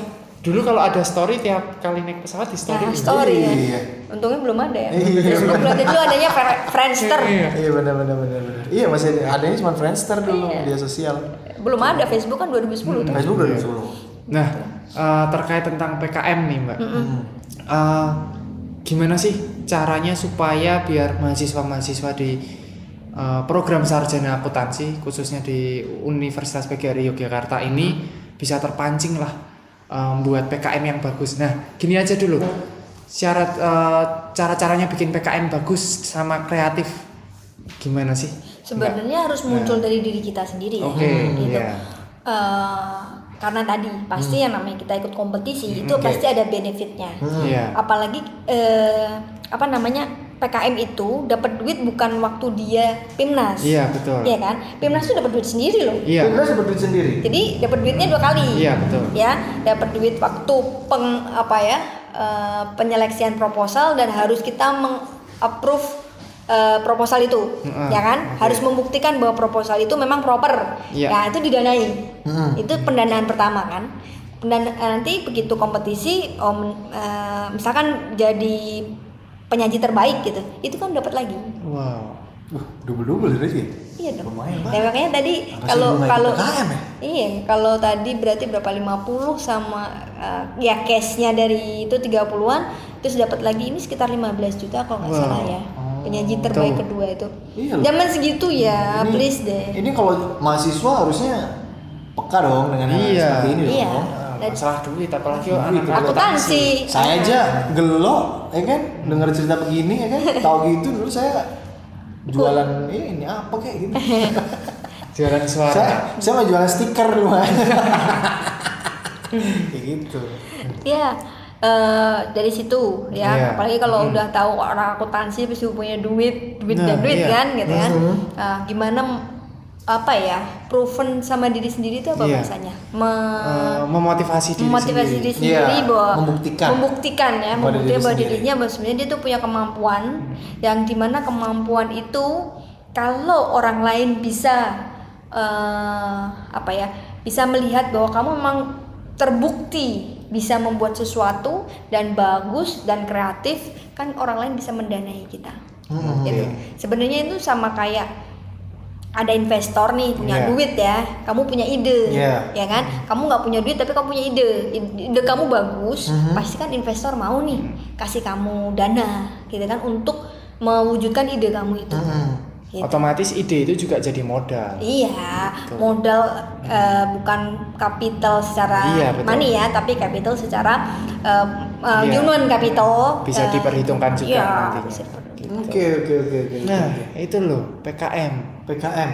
S3: dulu kalau ada story tiap kali naik pesawat di story.
S1: nah story ya.
S2: Iya.
S1: untungnya belum ada ya
S2: Iya.
S1: terus belum ada dulu adanya Fre- Friendster
S3: Iya.
S2: Iya benar benar benar benar. Iya masih ada adanya cuma Friendster dulu
S1: Iya.
S2: media sosial.
S1: belum ada Facebook kan 2010 tuh
S2: Facebook udah
S3: Iya.
S2: disuruh.
S3: Nah, eh, terkait tentang PKM nih, Mbak.
S2: Hmm.
S3: Eh, gimana sih caranya supaya biar mahasiswa-mahasiswa di eh, program sarjana akuntansi khususnya di Universitas PGRI Yogyakarta ini bisa terpancing lah eh, membuat PKM yang bagus. Nah, gini aja dulu. Syarat eh, cara-caranya bikin PKM bagus sama kreatif gimana sih? Mbak?
S1: sebenarnya harus muncul dari diri kita sendiri ya
S3: Nah. Oke,
S1: gitu
S3: iya. Hmm.
S1: Eh, karena tadi pasti yang namanya kita ikut kompetisi itu
S3: oke.
S1: pasti ada benefitnya
S3: Iya.
S1: apalagi eh, apa namanya PKM itu dapat duit bukan waktu dia pimnas
S3: Iya, betul.
S1: Iya kan pimnas tuh dapat duit sendiri loh
S3: Iya.
S2: Timnas seperti sendiri.
S1: jadi dapat duitnya dua kali
S3: Iya, betul.
S1: ya dapat duit waktu peng apa ya eh, penyeleksian proposal dan harus kita mengapprove eh, proposal itu
S3: Mm-mm.
S1: ya kan
S3: Oke.
S1: harus membuktikan bahwa proposal itu memang proper
S3: Iya.
S1: ya itu didanai
S2: Mm-mm.
S1: itu pendanaan pertama kan Pendan nanti begitu kompetisi om eh, misalkan jadi penyaji terbaik gitu itu kan dapat lagi
S3: Wow.
S2: Wah, double double Rizky.
S1: Iya dong.
S2: Lumayan
S1: Nah,
S2: banget.
S1: makanya tadi
S2: Apa sih
S1: kalau
S2: lu nggak
S1: kalau
S2: ikut KKM ya?
S1: Iya, kalau tadi berarti berapa 50 sama eh, ya cashnya dari itu 30-an terus dapat lagi ini sekitar 15 juta kalau nggak
S3: Wow.
S1: salah ya. Penyaji terbaik
S3: Tuh.
S1: kedua itu.
S2: Oh, Iya loh.
S1: Zaman segitu ya,
S2: Ini-
S1: please deh.
S2: Ini kalau mahasiswa harusnya peka dong dengan hal
S3: Iya.
S2: seperti ini
S1: Iya.
S2: dong.
S3: Nah,
S1: Dan-
S3: masalah duit apalagi
S2: Duit,
S3: anak
S2: Aku
S1: Akuntansi.
S2: Saya aja gelo, ya kan? Dengar cerita begini, ya kan? Tahu gitu dulu saya jualan eh, ini apa kayak gitu.
S3: jualan suara
S2: saya saya mau jualan stiker dulu. kayak gitu.
S1: Iya. eh, dari situ ya
S3: Iya.
S1: apalagi kalau udah tahu orang akuntansi pasti punya duit duit dan
S3: Nah,
S1: duit
S3: iya.
S1: kan gitu kan Eh, gimana apa ya proven sama diri sendiri itu apa
S3: Iya.
S1: bahasanya Me-
S3: Eh, memotivasi diri
S1: memotivasi diri
S3: sendiri.
S1: sendiri
S2: Iya,
S1: bahwa
S2: membuktikan.
S1: membuktikan ya
S2: Pada
S1: membuktikan
S2: diri
S1: bahwa
S2: sendiri. Hmm.
S1: dirinya bahwa sebenarnya dia tuh punya kemampuan yang dimana kemampuan itu kalau orang lain bisa eh, apa ya bisa melihat bahwa kamu memang terbukti bisa membuat sesuatu dan bagus dan kreatif kan orang lain bisa mendanai kita
S2: Hmm,
S1: Gitu.
S2: iya.
S1: sebenarnya itu sama kayak ada investor nih punya
S3: Iya.
S1: duit ya kamu punya ide
S2: Iya.
S1: ya kan kamu nggak punya duit tapi kamu punya ide Ide- ide kamu bagus
S3: Mhm.
S1: pasti kan investor mau nih kasih kamu dana gitu kan untuk mewujudkan ide kamu itu
S3: Mhm.
S2: Hmm.
S1: Gitu.
S3: otomatis ide itu juga jadi modal
S1: Iya,
S3: Betul. Mhm.
S1: modal eh, bukan kapital secara
S3: Iya, betul.
S1: money ya, tapi kapital secara eh, eh,
S3: Iya.
S1: human capital. eh,
S3: Bisa diperhitungkan juga
S1: iya,
S3: nantinya. Gitu.
S1: bisa diperhitungkan.
S2: Oke, oke, oke, oke.
S3: nah itu loh PKM
S2: PKM.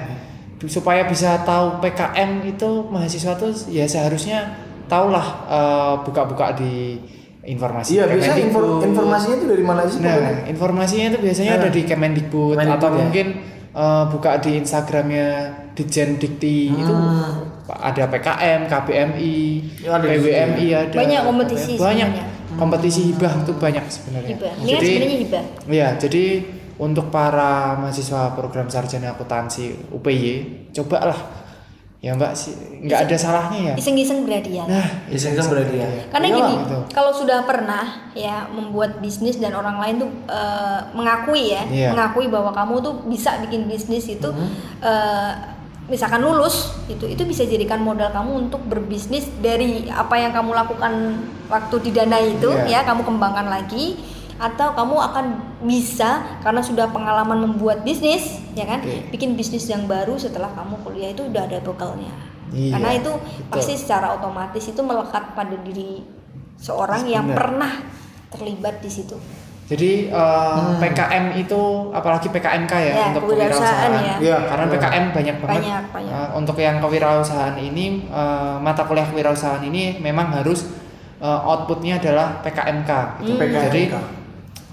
S3: supaya bisa tahu PKM itu mahasiswa tuh ya seharusnya tahulah eh, buka-buka di informasi
S2: Iya, biasanya
S3: Kemendikbud.
S2: infor- informasinya itu dari mana sih? pokoknya?
S3: Nah, informasinya itu biasanya ada di Kemendikbud
S2: Ah. Kemendikbud
S3: atau
S2: ya.
S3: mungkin eh, buka di Instagramnya Dijen Dikti itu ada PKM, KBMI,
S2: Ah. Ya, ada di situ ya.
S3: PWMI ada.
S1: Banyak kompetisi
S3: Banyak
S1: sebenarnya.
S3: kompetisi hibah itu banyak sebenarnya.
S1: hibah ini kan sebenarnya hibah
S3: Iya, jadi untuk para mahasiswa program sarjana akuntansi UPY, cobalah ya Mbak sih, nggak ada salahnya ya.
S1: iseng-iseng berhadiah
S3: Nah, gitu.
S2: Iseng-iseng berarti ya.
S1: Karena
S2: Iya
S1: gini,
S2: lah.
S3: betul.
S1: kalau sudah pernah ya membuat bisnis dan orang lain tuh eh, mengakui ya,
S3: Iya. Mm-hmm.
S1: mengakui bahwa kamu tuh bisa bikin bisnis itu eh, misalkan lulus itu itu bisa jadikan modal kamu untuk berbisnis dari apa yang kamu lakukan waktu di dana itu ya,
S3: Iya.
S1: kamu kembangkan lagi atau kamu akan bisa karena sudah pengalaman membuat bisnis ya kan
S3: Oke.
S1: bikin bisnis yang baru setelah kamu kuliah itu udah ada bekalnya
S3: Iya,
S1: karena itu
S3: betul.
S1: pasti secara otomatis itu melekat pada diri seorang yang
S3: Benar.
S1: pernah terlibat di situ.
S3: Jadi eh, PKM itu apalagi PKMK ya,
S1: Ya,
S3: untuk
S1: kewirausahaan
S3: kewirausahaan.
S1: ya.
S2: Iya,
S3: karena
S2: iya.
S3: PKM banyak banget.
S1: Banyak, banyak.
S3: Eh, untuk yang kewirausahaan ini eh, mata kuliah kewirausahaan ini memang harus eh, outputnya adalah PKMK.
S1: Hmm.
S3: gitu.
S2: PKMK.
S3: Jadi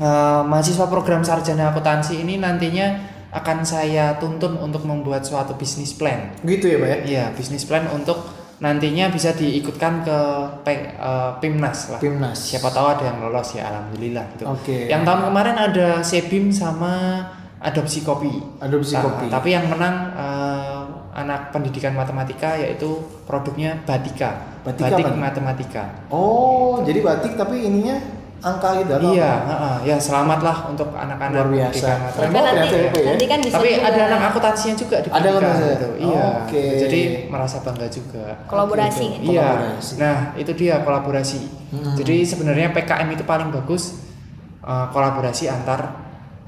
S3: eh, mahasiswa program sarjana akuntansi ini nantinya akan saya tuntun untuk membuat suatu bisnis plan.
S2: Gitu ya, Pak ya.
S3: Iya, bisnis plan untuk nantinya bisa diikutkan ke P- eh, PIMNAS lah.
S2: Timnas.
S3: Siapa tahu ada yang lolos ya, alhamdulillah gitu.
S2: Oke.
S3: Yang tahun kemarin ada Sebim sama Adopsi Kopi.
S2: Adopsi
S3: Nah,
S2: kopi.
S3: Tapi yang menang eh, anak pendidikan matematika yaitu produknya Batika.
S2: Batika
S3: Batik
S2: apa nih?
S3: matematika.
S2: Oh, jadi batik tapi ininya angka gitu atau
S3: Iya,
S2: apa?
S3: heeh. ya selamatlah untuk anak-anak
S2: Luar biasa.
S3: pendidikan matematika.
S1: Kan
S2: Keren banget
S1: nanti,
S2: ya, Cepo ya.
S1: nanti kan bisa
S3: Tapi
S1: juga
S3: ada anak akuntansinya juga di
S2: Ada
S3: pendidikan
S2: akuntansinya?
S3: gitu. Iya.
S2: Oke.
S3: Jadi merasa bangga juga.
S1: kolaborasi.
S2: Oke, oke.
S1: gitu.
S3: Iya.
S2: Kolaborasi. Hmm.
S3: Nah, itu dia kolaborasi. Jadi sebenarnya PKM itu paling bagus eh, kolaborasi antar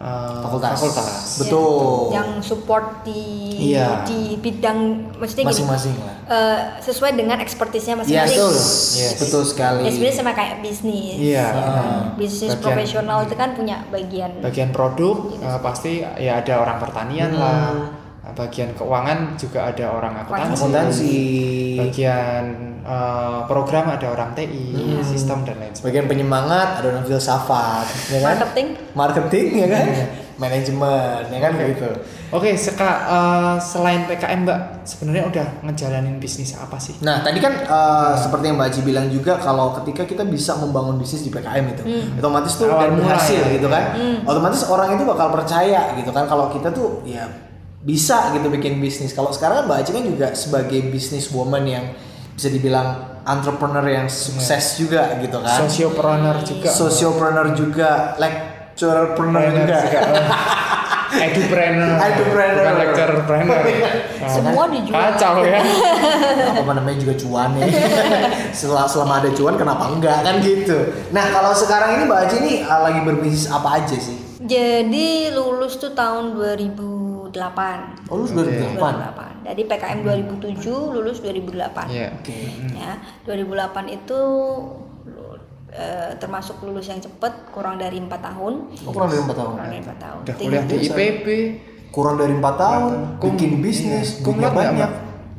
S3: eh,
S2: Fakultas.
S3: fakultas.
S2: Betul.
S1: Yang support di
S3: Iya.
S1: di bidang maksudnya gini,
S2: Masing-masing lah.
S1: eh, sesuai dengan ekspertisnya
S2: Iya,
S1: masing-masing.
S2: betul.
S3: Yes.
S2: Betul sekali.
S1: Ya, sebenarnya sama kayak bisnis.
S3: Iya.
S1: ya kan?
S2: Ah,
S1: Bisnis
S3: bagian-
S1: profesional Iya, itu kan punya bagian.
S3: Bagian produk eh, pasti ya ada orang pertanian
S2: Hmm.
S3: lah. Nah, Bagian keuangan juga ada orang akuntansi.
S2: Akuntansi.
S3: Bagian eh, program ada orang TI,
S2: Hmm.
S3: sistem dan lain
S2: Bagian
S3: sebagainya.
S2: penyemangat ada orang filsafat, ya kan?
S1: Marketing.
S2: Marketing ya kan? Manajemen, ya kan kayak gitu.
S3: Oke, seka, eh, selain PKM Mbak, sebenarnya udah ngejalanin bisnis apa sih?
S2: Nah, tadi kan eh, seperti yang Mbak Aji bilang juga kalau ketika kita bisa membangun bisnis di PKM itu, otomatis tuh dan
S3: Awal mula
S2: berhasil
S3: ya.
S2: gitu kan. Otomatis orang itu bakal percaya gitu kan kalau kita tuh ya bisa gitu bikin bisnis. Kalau sekarang kan Mbak Aji kan juga sebagai business woman yang bisa dibilang entrepreneur yang sukses juga gitu kan.
S3: Sosiopreneur juga.
S2: Sociopreneur juga, lecturerpreneur juga.
S3: Edupreneur.
S2: Edupreneur. Oh, iya.
S3: Bukan lecturepreneur. Nah,
S1: Semua dijual.
S3: Kacau ya.
S2: apa namanya juga cuan ya selama, selama ada cuan kenapa enggak kan gitu nah kalau sekarang ini mbak Aji ini uh, lagi berbisnis apa aja sih
S1: Jadi lulus tuh tahun 2008.
S2: oh lu sudah di depan
S1: 2008. Dari PKM 2007 lulus 2008.
S3: Hmm. Iya.
S2: oke
S1: Ya, 2008 itu lu- eh, termasuk lulus yang cepat kurang dari empat tahun.
S2: Oh, kurang dari empat tahun
S1: Kurang dari 4 tahun.
S3: Udah
S1: Tinggi-
S3: kuliah di IPB.
S2: kurang dari empat tahun
S3: Kum-
S2: bikin bisnis
S3: iya.
S2: duitnya
S3: Kumlot nggak,
S2: banyak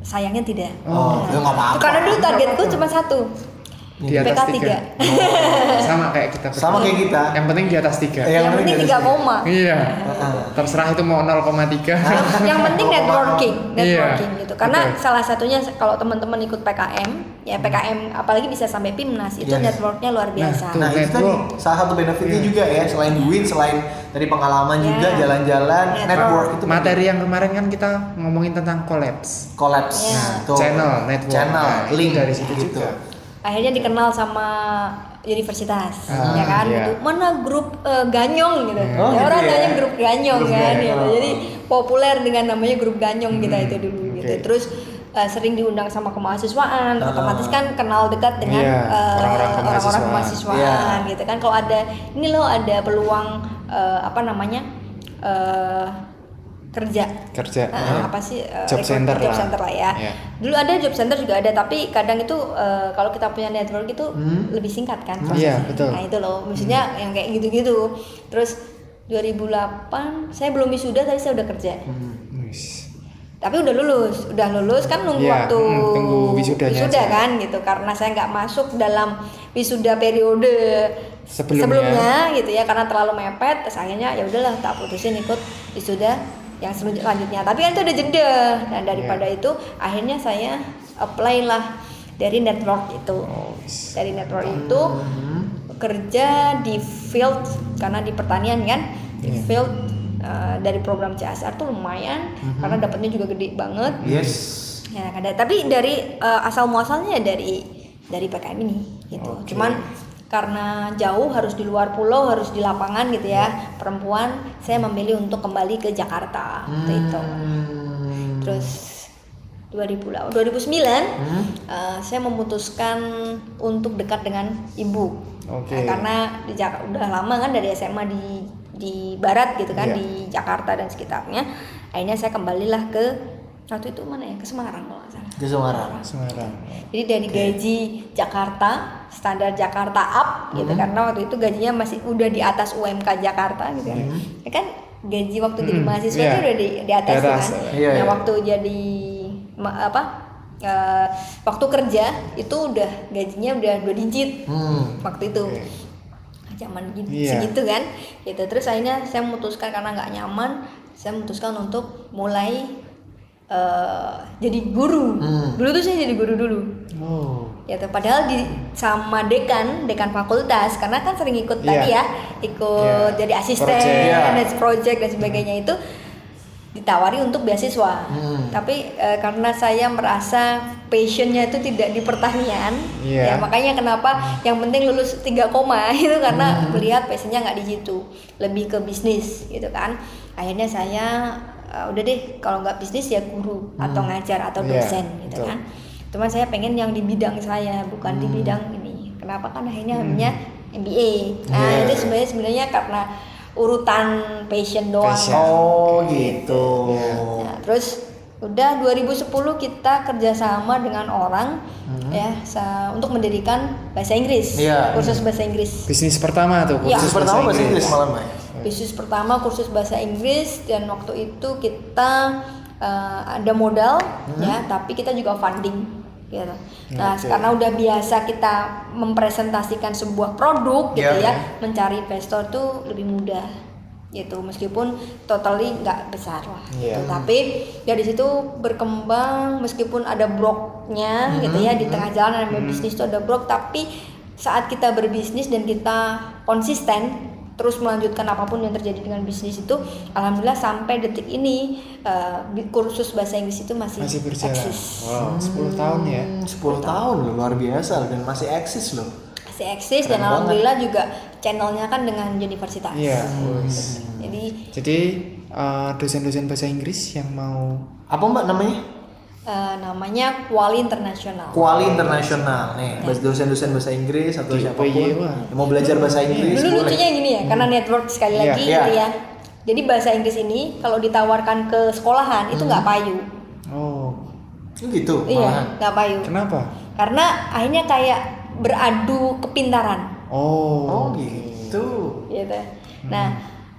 S1: Sayangnya tidak.
S2: oh ya nggak apa-apa
S1: Karena dulu targetku cuma satu.
S3: Di atas
S1: PK
S3: tiga.
S1: tiga.
S3: Sama kayak kita.
S2: Oh,
S3: berdua.
S2: sama kayak kita Iya.
S3: Yang penting di atas tiga.
S2: Yang
S1: Yang penting
S2: penting
S1: 3 koma.
S3: Iya.
S2: Heeh.
S3: Terserah itu mau 0,3.
S2: Ah,
S1: yang penting networking, networking
S3: Iya.
S1: gitu. Karena
S3: Betul.
S1: salah satunya kalau teman-teman ikut PKM, ya PKM apalagi bisa sampai PIMNAS itu
S3: Iya,
S2: Yes.
S1: networknya luar biasa.
S3: tuh.
S2: Nah itu tadi
S3: Network. Iya.
S2: salah satu benefitnya juga ya selain duit selain dari pengalaman
S1: Ya.
S2: juga jalan-jalan
S1: Network.
S2: network itu
S3: Materi yang kemarin kan kita ngomongin tentang collapse.
S2: collapse
S1: Ya.
S2: Tuh.
S3: Channel, network.
S2: channel
S3: Nah, itu
S2: link
S3: dari situ
S2: gitu.
S3: juga.
S1: akhirnya dikenal sama universitas
S3: Ah,
S1: ya kan
S3: iya.
S1: Itu mana grup eh, ganyong gitu
S2: Oh,
S1: ya
S2: gitu
S1: orang
S2: ya.
S1: tanya grup ganyong
S2: Grup
S1: kan
S2: Ganyong. Hmm,
S1: gitu. jadi populer dengan namanya grup ganyong kita itu dulu gitu terus eh, sering diundang sama kemahasiswaan
S2: Ah.
S1: otomatis kan kenal dekat dengan
S3: Iya,
S1: eh,
S3: orang-orang
S1: orang-orang
S3: kemahasiswaan.
S1: kemahasiswaan
S2: Iya.
S1: gitu kan kalau ada ini loh ada peluang eh, apa namanya eh, kerja
S3: Kerja.
S1: Nah, apa sih eh,
S3: Job
S1: rekrut-
S3: center
S1: job
S3: lah.
S1: center lah ya.
S3: Iya.
S1: Dulu ada job center juga ada, tapi kadang itu eh, kalau kita punya network itu lebih singkat kan prosesnya.
S3: Hmm. Iya, betul. Hmm.
S1: Nah, itu loh, maksudnya yang kayak gitu-gitu. Terus 2008 saya belum wisuda tapi saya udah kerja.
S3: Wis.
S1: Tapi udah lulus, udah lulus kan nunggu
S3: Iya,
S1: waktu
S3: mm, tunggu wisudanya
S1: wisuda
S3: aja.
S1: kan gitu karena saya nggak masuk dalam wisuda periode
S3: Sebelumnya.
S1: gitu ya karena terlalu mepet terus akhirnya ya udahlah tak putusin ikut wisuda yang selanjutnya tapi kan itu ada jeda dan daripada
S3: Iya.
S1: itu akhirnya saya apply lah dari network itu
S3: Oh,
S1: dari network
S3: Hmm.
S1: itu kerja di field karena di pertanian kan di
S3: Iya.
S1: field eh, dari program CSR tuh lumayan karena dapatnya juga gede banget
S2: Yes.
S1: ya ada tapi dari eh, asal muasalnya ya dari dari PKM ini gitu cuman karena jauh harus di luar pulau harus di lapangan gitu ya perempuan saya memilih untuk kembali ke Jakarta gitu. waktu itu
S2: Hmm.
S1: terus 2000 2009
S3: Hmm?
S1: eh, saya memutuskan untuk dekat dengan ibu
S3: Oke.
S1: Nah, karena di Jak- udah lama kan dari SMA di di barat gitu kan
S3: Iya.
S1: di Jakarta dan sekitarnya akhirnya saya kembalilah ke waktu itu mana ya ke Semarang kalau nggak salah
S2: Ke Semarang.
S3: Semarang.
S1: jadi dari gaji Jakarta standar Jakarta up
S3: Hmm.
S1: gitu karena waktu itu gajinya masih udah di atas UMK Jakarta gitu kan ya kan gaji waktu jadi
S3: Hmm,
S1: mahasiswa
S3: iya.
S1: itu udah di, di atas,
S3: Di atas,
S1: kan
S2: iya,
S1: nah
S2: iya.
S1: waktu jadi ma- apa eh, waktu kerja itu udah gajinya udah dua digit
S2: Hmm.
S1: waktu itu
S3: Oke.
S1: zaman gitu
S3: Iya.
S1: segitu kan gitu terus akhirnya saya memutuskan karena nggak nyaman saya memutuskan untuk mulai eh, jadi guru
S2: Hmm.
S1: dulu tuh saya jadi guru dulu
S3: Oh.
S1: gitu padahal di sama dekan dekan fakultas karena kan sering ikut tadi ya
S3: Iya.
S1: ikut
S3: Iya.
S1: jadi asisten
S3: Project.
S2: Iya.
S1: dan project dan sebagainya itu ditawari untuk beasiswa
S2: Hmm.
S1: tapi eh, karena saya merasa passionnya itu tidak di pertanian
S3: Iya. Hmm.
S1: ya makanya kenapa yang penting lulus 3 koma itu karena melihat passionnya nggak di situ lebih ke bisnis gitu kan akhirnya saya eh, udah deh kalau nggak bisnis ya guru atau ngajar atau
S3: Iya,
S1: dosen gitu
S3: betul.
S1: kan cuman saya pengen yang di bidang saya bukan
S2: Hmm.
S1: di bidang ini kenapa kan akhirnya ambilnya MBA nah
S2: Iya.
S1: itu sebenarnya sebenarnya karena urutan passion doang
S3: Passion.
S2: Oh gitu.
S3: Ya.
S1: Nah, terus udah 2010 kita kerjasama dengan orang ya sa- untuk mendirikan bahasa Inggris
S2: Hmm. Iya.
S1: kursus bahasa Inggris
S3: Bisnis pertama tuh.
S1: Iya.
S2: Terus
S3: kursus
S2: pertama bahasa Inggris
S3: Oke.
S2: malam ya? Mai.
S1: Bisnis pertama kursus bahasa Inggris dan waktu itu kita eh, ada modal
S2: Hmm.
S1: ya, tapi kita juga funding gitu. Nah,
S3: Oke.
S1: karena udah biasa kita mempresentasikan sebuah produk gitu
S2: Iya.
S1: ya, mencari investor tuh lebih mudah gitu meskipun totally nggak besar lah
S3: Iya.
S1: gitu. tapi dari situ berkembang meskipun ada broknya
S3: Mm-hmm.
S1: gitu ya di tengah jalan namanya bisnis itu ada brok tapi saat kita berbisnis dan kita konsisten terus melanjutkan apapun yang terjadi dengan bisnis itu alhamdulillah sampai detik ini eh, bi- kursus bahasa Inggris itu masih,
S3: Masih berjalan.
S1: eksis
S3: Wow, 10 tahun ya.
S2: Hmm, 10 tahun loh, luar biasa loh, dan masih eksis loh.
S1: masih eksis
S2: Keren
S1: dan
S2: banget.
S1: alhamdulillah juga channelnya kan dengan universitas Hmm.
S3: Iya.
S1: jadi
S3: Jadi eh, dosen-dosen bahasa Inggris yang mau
S2: Apa Mbak namanya?
S1: eh, namanya Kuali Internasional
S2: Kuali Internasional nih, bas- dosen-dosen bahasa Inggris atau
S3: Di
S2: siapapun
S3: UPY, wah.
S2: yang mau belajar bahasa Inggris
S1: Dulu
S2: boleh.
S1: lucunya gini ya, karena network sekali
S3: Iya,
S1: lagi
S2: Hmm. iya.
S1: gitu ya. Jadi bahasa Inggris ini kalau ditawarkan ke sekolahan itu nggak payu.
S3: Oh,
S2: Oh, Gitu, Hmm. malahan.
S1: Iya, nggak payu.
S3: kenapa?
S1: Karena akhirnya kayak beradu kepintaran
S2: Oh
S3: Oh.
S2: gitu.
S1: gitu.
S2: Hmm.
S1: Nah,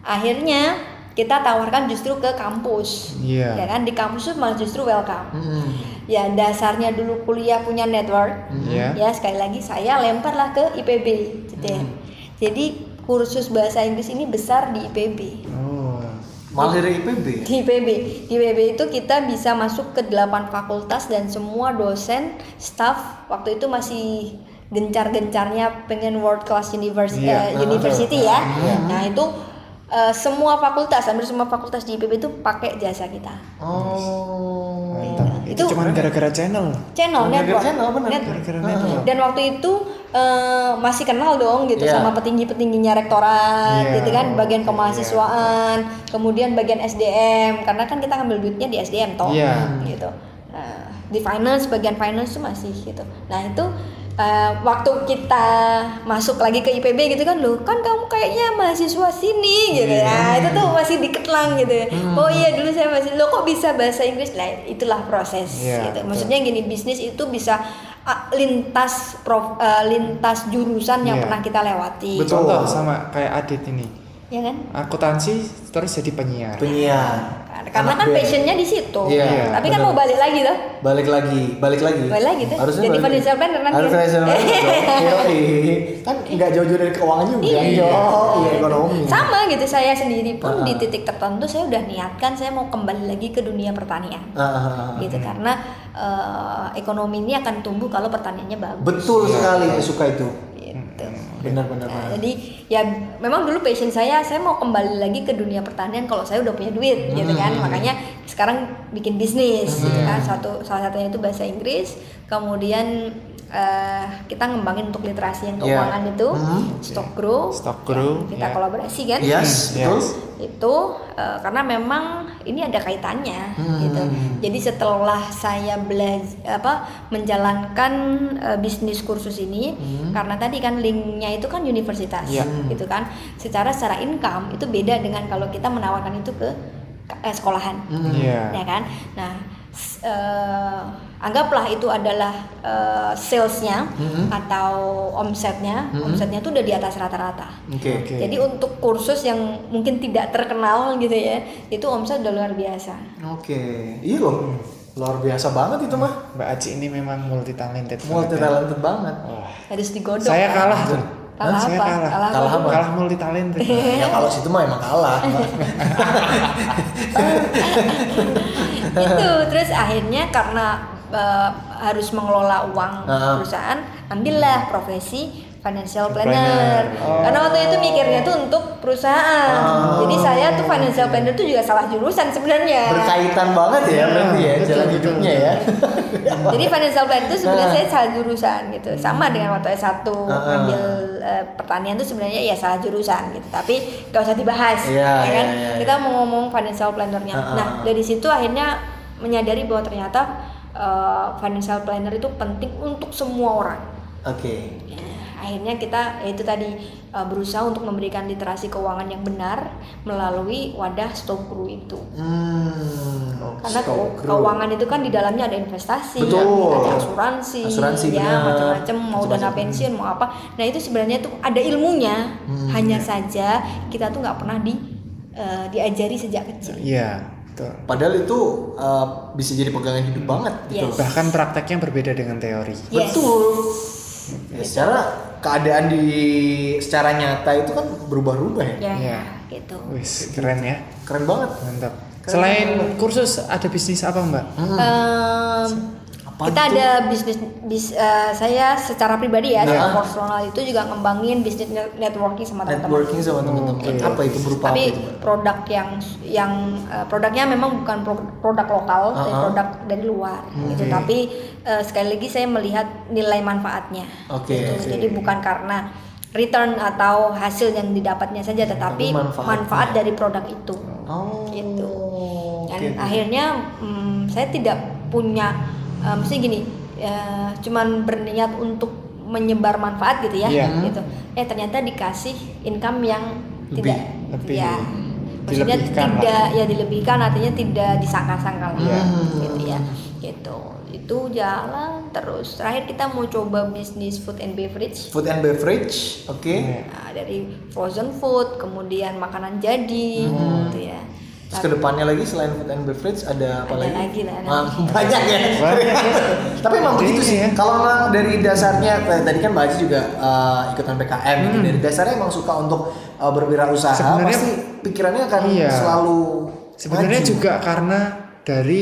S1: akhirnya kita tawarkan justru ke kampus.
S3: Iya.
S1: Ya kan di kampus tuh malah justru welcome.
S2: Hmm.
S1: Ya dasarnya dulu kuliah punya network.
S3: Iya.
S1: Ya sekali lagi saya lemparlah ke IPB gitu ya. Jadi kursus bahasa Inggris ini besar di IPB.
S3: Oh.
S2: Malah dari IPB.
S1: di IPB. Di IPB itu kita bisa masuk ke 8 fakultas dan semua dosen, staff waktu itu masih gencar-gencarnya pengen world class university,
S3: Iya,
S1: university ya. Nah, itu eh, semua fakultas, hampir semua fakultas di IPB itu pakai jasa kita.
S2: Oh.
S3: Mantap. Itu,
S1: Itu-
S3: cuman gara-gara channel. Oh,
S1: Channel
S2: Gara-gara
S1: network.
S2: channel, bener.
S1: Network.
S3: Gara-gara network.
S1: Dan waktu itu eh, masih kenal dong gitu
S2: Iya.
S1: sama petinggi-petingginya rektorat
S3: Iya.
S1: gitu kan bagian kemahasiswaan, kemudian bagian SDM karena kan kita ngambil duitnya di SDM toh
S3: Iya.
S1: gitu. Nah, di finance bagian finance tuh masih gitu. Nah, itu eh, waktu kita masuk lagi ke IPB gitu kan loh, kan kamu kayaknya mahasiswa sini gitu
S3: Iya.
S1: ya. Itu tuh masih diketelang gitu. ya.
S3: Hmm.
S1: Oh iya dulu saya masih lo kok bisa bahasa Inggris? Nah, itulah proses
S3: Iya,
S1: gitu.
S3: betul.
S1: Maksudnya gini, bisnis itu bisa ah, lintas prof- eh, lintas jurusan yang
S3: Iya.
S1: pernah kita lewati.
S2: Betul.
S3: Contoh sama kayak Adit ini.
S1: Ya kan?
S3: Akuntansi terus jadi penyiar.
S2: Penyiar.
S1: Nah, karena
S2: Anak
S1: kan
S2: band.
S1: passionnya di situ
S2: Iya,
S1: tapi kan
S2: benar.
S1: mau balik lagi tuh
S2: balik lagi balik lagi
S1: Balik lagi tuh.
S2: harusnya
S1: Jadi financial planner nanti.
S2: harus financial planner dong. Yoi. kan nggak jauh-jauh dari keuangan juga
S1: Iya.
S2: Yo, iya ekonomi
S1: sama gitu saya sendiri pun
S2: Ah.
S1: di titik tertentu saya udah niatkan saya mau kembali lagi ke dunia pertanian
S2: Ah, ah, ah.
S1: gitu karena eh, ekonomi ini akan tumbuh kalau pertaniannya bagus
S2: betul sekali saya suka itu
S1: gitu.
S2: Hmm. benar-benar
S1: Nah, Iya. jadi ya memang dulu passion saya saya mau kembali lagi ke dunia pertanian kalau saya udah punya duit
S2: Hmm.
S1: gitu kan makanya sekarang bikin bisnis gitu kan satu salah satunya itu bahasa Inggris kemudian eh, kita ngembangin untuk literasi yang
S2: Iya.
S1: keuangan itu
S2: Hmm.
S1: stock grow
S3: Stock grow,
S1: yang kita
S3: iya.
S1: kolaborasi kan
S2: yes
S3: Hmm,
S2: betul
S3: yes.
S1: itu eh, karena memang ini ada kaitannya gitu.
S3: Hmm.
S1: Jadi setelah saya belajar apa menjalankan eh, bisnis kursus ini karena tadi kan linknya itu kan universitas
S3: Hmm. Iya.
S1: gitu kan. Secara secara income itu beda dengan kalau kita menawarkan itu ke ke- eh, sekolahan
S3: Iya.
S1: ya kan nah s- eh, anggaplah itu adalah eh, salesnya
S3: Hmm.
S1: atau omsetnya omsetnya itu udah di atas rata-rata
S2: oke
S3: Oke.
S1: jadi untuk kursus yang mungkin tidak terkenal gitu ya itu omset udah luar biasa
S2: oke iya loh luar biasa banget itu mah
S3: Mbak Aci ini memang multi talented.
S2: multi talented banget
S1: harus digodok
S3: Saya
S1: kan?
S3: kalah tuh.
S1: Kalah
S3: Saya
S1: apa?
S3: kalah.
S1: Kalah
S2: apa?
S3: Kalah, kalah multi talented.
S2: ya kalau situ mah emang kalah
S1: itu terus akhirnya karena eh, harus mengelola uang
S2: Ah.
S1: perusahaan ambillah profesi financial
S3: Planner. Oh.
S1: planner, karena waktu itu mikirnya tuh untuk perusahaan
S2: Oh.
S1: jadi saya tuh financial planner tuh juga salah jurusan sebenarnya
S2: berkaitan banget
S1: Iya.
S2: ya berarti ya
S3: betul,
S2: jalan
S3: betul,
S2: hidupnya ya
S1: jadi financial planner itu sebenarnya
S2: Ah.
S1: saya salah jurusan gitu sama dengan waktu S1
S2: Ah.
S1: ambil eh, pertanian itu sebenarnya ya salah jurusan gitu tapi gak usah dibahas
S2: Iya,
S1: ya kan
S2: iya, iya,
S1: kita mau ngomong financial plannernya
S2: Ah, ah,
S1: nah
S2: ah.
S1: dari situ akhirnya menyadari bahwa ternyata eh, financial planner itu penting untuk semua orang
S2: oke
S1: akhirnya kita ya itu tadi eh, berusaha untuk memberikan literasi keuangan yang benar melalui wadah stock Guru itu
S2: Hmm,
S1: karena
S2: stock
S1: keu-
S2: grow.
S1: keuangan itu kan di dalamnya ada investasi,
S2: Betul.
S1: ada asuransi,
S2: Asuransi, benar.
S1: ya macam-macam mau dana
S2: Macam-macam.
S1: pensiun mau apa. Nah itu sebenarnya tuh ada ilmunya,
S2: Hmm,
S1: hanya
S2: ya.
S1: saja kita tuh nggak pernah di eh, diajari sejak kecil.
S2: Ya.
S3: Iya, betul.
S2: Padahal itu eh, bisa jadi pegangan hidup banget gitu.
S1: Yes.
S2: loh.
S3: Bahkan prakteknya berbeda dengan teori.
S1: Yes.
S2: Betul. Ya, secara keadaan di secara nyata itu kan berubah-ubah ya.
S1: Ya,
S3: Iya.
S1: gitu.
S3: Wis, keren ya.
S2: Keren banget.
S3: Mantap. Selain kursus ada bisnis apa, Mbak?
S1: Em,
S2: Nah. Apa
S1: kita
S2: itu?
S1: ada bisnis bis, eh, saya secara pribadi ya, secara
S2: Nah.
S1: personal itu juga ngembangin bisnis net- networking sama teman-teman.
S2: Networking sama teman-teman. Apa itu berupa
S1: tapi
S2: apa itu? Mbak?
S1: produk yang yang eh, produknya memang bukan pro- produk lokal tapi
S2: Uh-huh.
S1: produk dari luar
S2: Hmm.
S1: gitu tapi eh, sekali lagi saya melihat nilai manfaatnya
S2: Oke.
S1: gitu. jadi bukan karena return atau hasil yang didapatnya saja tetapi
S2: Iya, manfaatnya.
S1: manfaat dari produk itu
S2: Oh.
S1: gitu dan
S2: Oke.
S1: akhirnya mm, saya tidak punya eh, mesti gini eh, cuman berniat untuk menyebar manfaat gitu ya
S3: Iya.
S1: gitu eh ternyata dikasih income yang tidak
S3: Lebih.
S1: ya maksudnya
S3: Dilebihkan lah.
S1: tidak ya dilebihkan artinya tidak disangka-sangka lah
S3: Iya.
S1: gitu ya gitu itu jalan terus terakhir kita mau coba bisnis food and beverage
S2: Food and beverage, oke.
S1: Nah, dari frozen food kemudian makanan jadi
S3: Hmm.
S1: gitu ya
S2: Terus kedepannya lagi selain food and beverage ada apa
S1: Ada
S2: lagi?
S1: lagi lah,
S2: Ah,
S1: nanti.
S2: banyak ya. Tapi emang begitu sih.
S3: Iya.
S2: Kalau memang dari dasarnya kayak tadi kan Mbak Aji juga eh, ikutan PKM gitu. Dari dasarnya emang suka untuk eh, berwirausaha,
S3: Hmm. Sebenarnya-
S2: pasti pikirannya akan
S3: Iya.
S2: selalu
S3: Sebenarnya
S2: maju.
S3: juga karena dari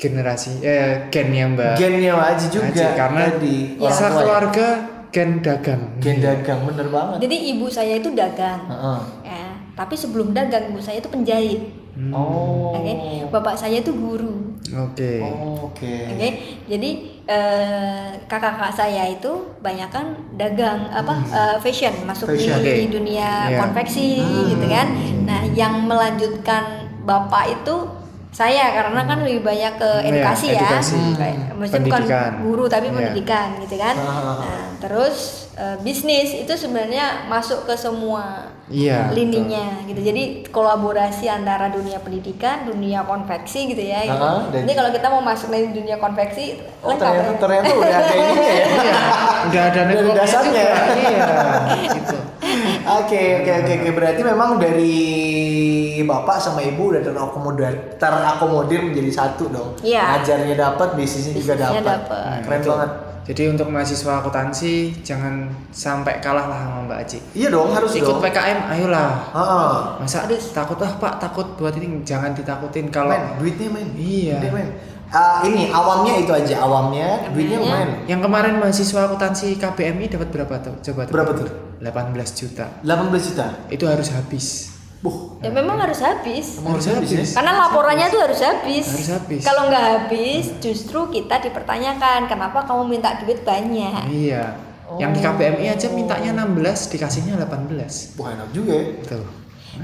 S3: generasi eh gennya Mbak.
S2: gennya Mbak Aji juga
S3: Aci, karena iya,
S2: tadi orang
S3: masa
S2: tua ya.
S3: keluarga gen dagang.
S2: gen dagang bener banget.
S1: jadi ibu saya itu dagang
S2: Heeh.
S1: ya tapi sebelum dagang ibu saya itu penjahit
S3: Hmm.
S2: Oh.
S1: oke bapak saya itu guru
S3: Oke.
S2: Oh, Oke.
S1: Oke, jadi eh, kakak-kakak saya itu banyak kan dagang apa eh, fashion masuk di-
S2: Fashion.
S1: di,
S3: Oke.
S1: dunia
S3: Iya.
S1: konveksi gitu kan. Nah, yang melanjutkan bapak itu saya karena kan lebih banyak ke
S3: Iya,
S1: edukasi ya,
S3: edukasi.
S1: Kayak, maksudnya bukan
S3: Pendidikan.
S1: guru tapi
S3: Iya.
S1: pendidikan gitu kan.
S2: Ah.
S1: Nah, terus eh, bisnis itu sebenarnya masuk ke semua
S3: Iya.
S1: lininya gitu. Jadi kolaborasi antara dunia pendidikan, dunia konveksi gitu ya. gitu.
S2: Ah, dan-
S1: Nanti kalau kita mau masuk dari dunia konveksi,
S2: Oh,
S1: lengkap
S2: ternyata
S1: ya.
S2: ternyata
S3: Iya.
S2: udah ada ini ya.
S3: Udah ada
S2: Dari
S3: networknya
S2: dasarnya.
S3: juga. Iya. gitu.
S2: Oke oke oke oke berarti memang dari bapak sama ibu udah terakomodir terakomodir menjadi satu dong.
S1: Iya.
S2: Ajarnya dapat, bisnisnya juga
S1: Bisnisnya
S2: dapat.
S1: dapat.
S2: Keren banget.
S3: Nah, Jadi untuk mahasiswa akuntansi jangan sampai kalah lah sama Mbak Aci.
S2: Iya dong harus
S3: Ikut
S2: dong.
S3: PKM, ayolah.
S2: Heeh.
S3: Masa takut ah Pak, takut buat ini jangan ditakutin kalau
S2: Men, duitnya men.
S3: Iya.
S2: Duitnya, men. Ah, ini awamnya itu aja awamnya, duitnya
S1: Awamnya.
S2: men.
S3: yang kemarin mahasiswa akuntansi KBMI dapat berapa tuh? Coba tebak.
S2: Berapa tuh?
S3: 18 juta.
S2: 18 juta.
S3: Itu harus habis.
S2: Buh.
S1: ya memang harus habis
S2: Emang harus habis ya?
S1: karena laporannya tuh harus habis,
S3: Harus habis.
S1: kalau nggak habis justru kita dipertanyakan kenapa kamu minta duit
S2: Hmm.
S1: banyak
S3: Iya. Yang
S1: Oh.
S3: di KBMI aja mintanya 16, dikasihnya 18.
S2: Wah enak juga ya.
S3: Tuh.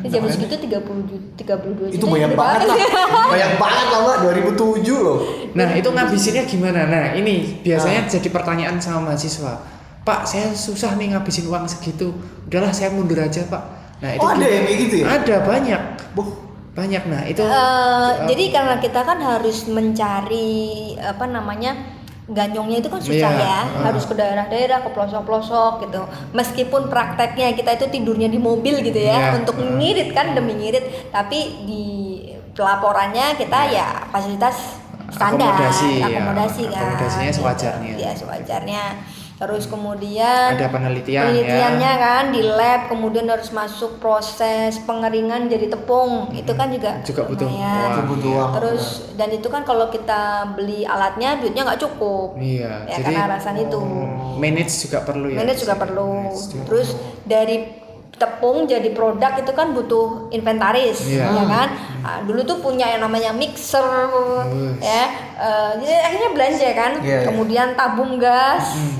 S1: Ini zaman segitu 30 juta, 32 juta gitu.
S2: Itu banyak
S1: gede
S2: banget lah. banyak banget lah Mbak, 2007 loh.
S3: Nah, itu ngabisinnya gimana? Nah,
S2: Ah.
S3: ini biasanya jadi pertanyaan sama mahasiswa. Pak, saya susah nih ngabisin uang segitu. Udahlah, saya mundur aja, Pak. Nah, itu
S2: Oh ada
S3: gim-
S2: yang kayak gitu ya?
S3: Ada banyak.
S2: Buh.
S3: Banyak. Nah, itu
S1: Eh, jadi karena kita kan harus mencari apa namanya ganyongnya itu kan susah
S3: Iya,
S1: ya,
S3: heeh.
S1: harus ke daerah-daerah, ke pelosok-pelosok gitu. Meskipun prakteknya kita itu tidurnya di mobil gitu ya,
S3: Iya,
S1: untuk
S3: heeh.
S1: ngirit kan demi ngirit, tapi di pelaporannya kita ya fasilitas standar,
S3: Iya. Eh, Akomodasi, ya.
S1: akomodasi kan.
S3: Akomodasinya
S1: gitu.
S3: sewajarnya.
S1: Iya, sewajarnya. Terus kemudian
S3: ada penelitian
S1: penelitiannya
S3: ya.
S1: kan di lab kemudian harus masuk proses pengeringan jadi tepung itu kan juga
S3: Hmm. Juga butuh
S1: lumayan.
S3: uang.
S2: Itu butuh uang.
S1: terus dan itu kan kalau kita beli alatnya duitnya nggak cukup
S3: Iya,
S1: ya
S3: jadi Hmm,
S1: karena alasan itu
S3: manage juga perlu ya.
S1: manage juga perlu
S3: Manage juga.
S1: terus dari tepung jadi produk itu kan butuh inventaris
S3: Iya.
S1: ya kan Ah, dulu tuh punya yang namanya mixer ya Eh, jadi akhirnya belanja kan
S2: Iya, iya.
S1: kemudian tabung gas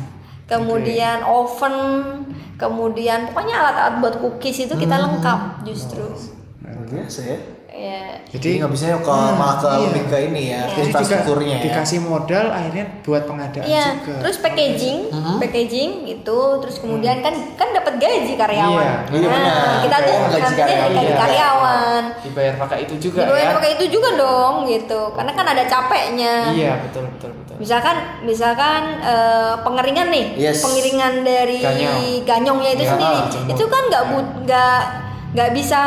S1: kemudian oven kemudian pokoknya alat-alat buat cookies itu kita lengkap justru
S2: Luar Biasa ya.
S1: ya
S2: Jadi
S3: Jadi
S2: nggak bisa ke malah ke lebih ke
S1: Iya.
S2: ini ya, ke
S3: Hmm, jadi dika-
S2: infrastrukturnya ya.
S3: dikasih modal akhirnya buat pengadaan
S1: Iya,
S3: juga.
S1: terus packaging, packaging gitu, terus kemudian kan kan dapat gaji karyawan. Nah,
S3: Iya,
S2: iya benar.
S1: kita tuh
S2: Gaji
S1: gaji
S2: karyawan.
S1: gaji karyawan.
S3: dibayar pakai itu juga
S1: Dibayar
S3: ya.
S1: pakai itu juga dong gitu, karena kan ada capeknya.
S3: Iya, betul betul betul.
S1: Misalkan misalkan eh, pengeringan nih,
S2: Yes.
S1: pengeringan dari
S3: Ganyong. Iya. Ah,
S1: ganyongnya itu
S2: Ya,
S1: sendiri,
S2: jemur.
S1: itu kan nggak bu nggak nggak bisa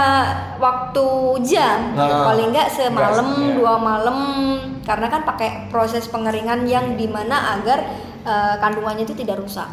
S1: waktu jam,
S2: Nah.
S1: paling nggak semalam
S3: Ah, Nggak, ya.
S1: dua malam, karena kan pakai proses pengeringan yang dimana agar eh, kandungannya itu tidak rusak.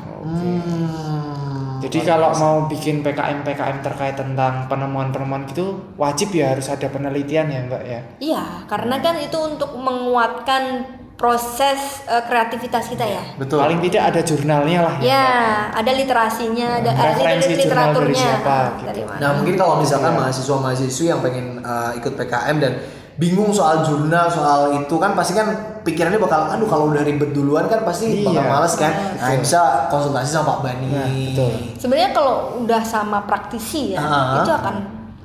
S2: Hmm.
S3: Jadi kalau mau bikin PKM PKM terkait tentang penemuan-penemuan gitu wajib ya harus ada penelitian ya Mbak ya.
S1: Iya, karena kan itu untuk menguatkan proses eh, kreativitas kita ya.
S2: betul.
S3: Paling tidak ada jurnalnya lah ya.
S1: Ya, ada literasinya, ada, ada
S3: Referensi
S1: liter-
S3: jurnal dari
S1: literaturnya.
S3: siapa,
S1: ah,
S3: gitu.
S1: dari mana.
S2: Nah mungkin kalau misalkan
S3: Iya.
S2: mahasiswa-mahasiswi yang pengen uh, ikut PKM dan bingung soal jurnal soal itu kan pasti kan pikirannya bakal aduh kalau udah ribet duluan kan pasti bakal
S3: Iya.
S2: males kan nah bisa konsultasi sama Pak Bani
S3: Nah, betul.
S1: sebenarnya kalau udah sama praktisi ya
S2: Ah.
S1: itu akan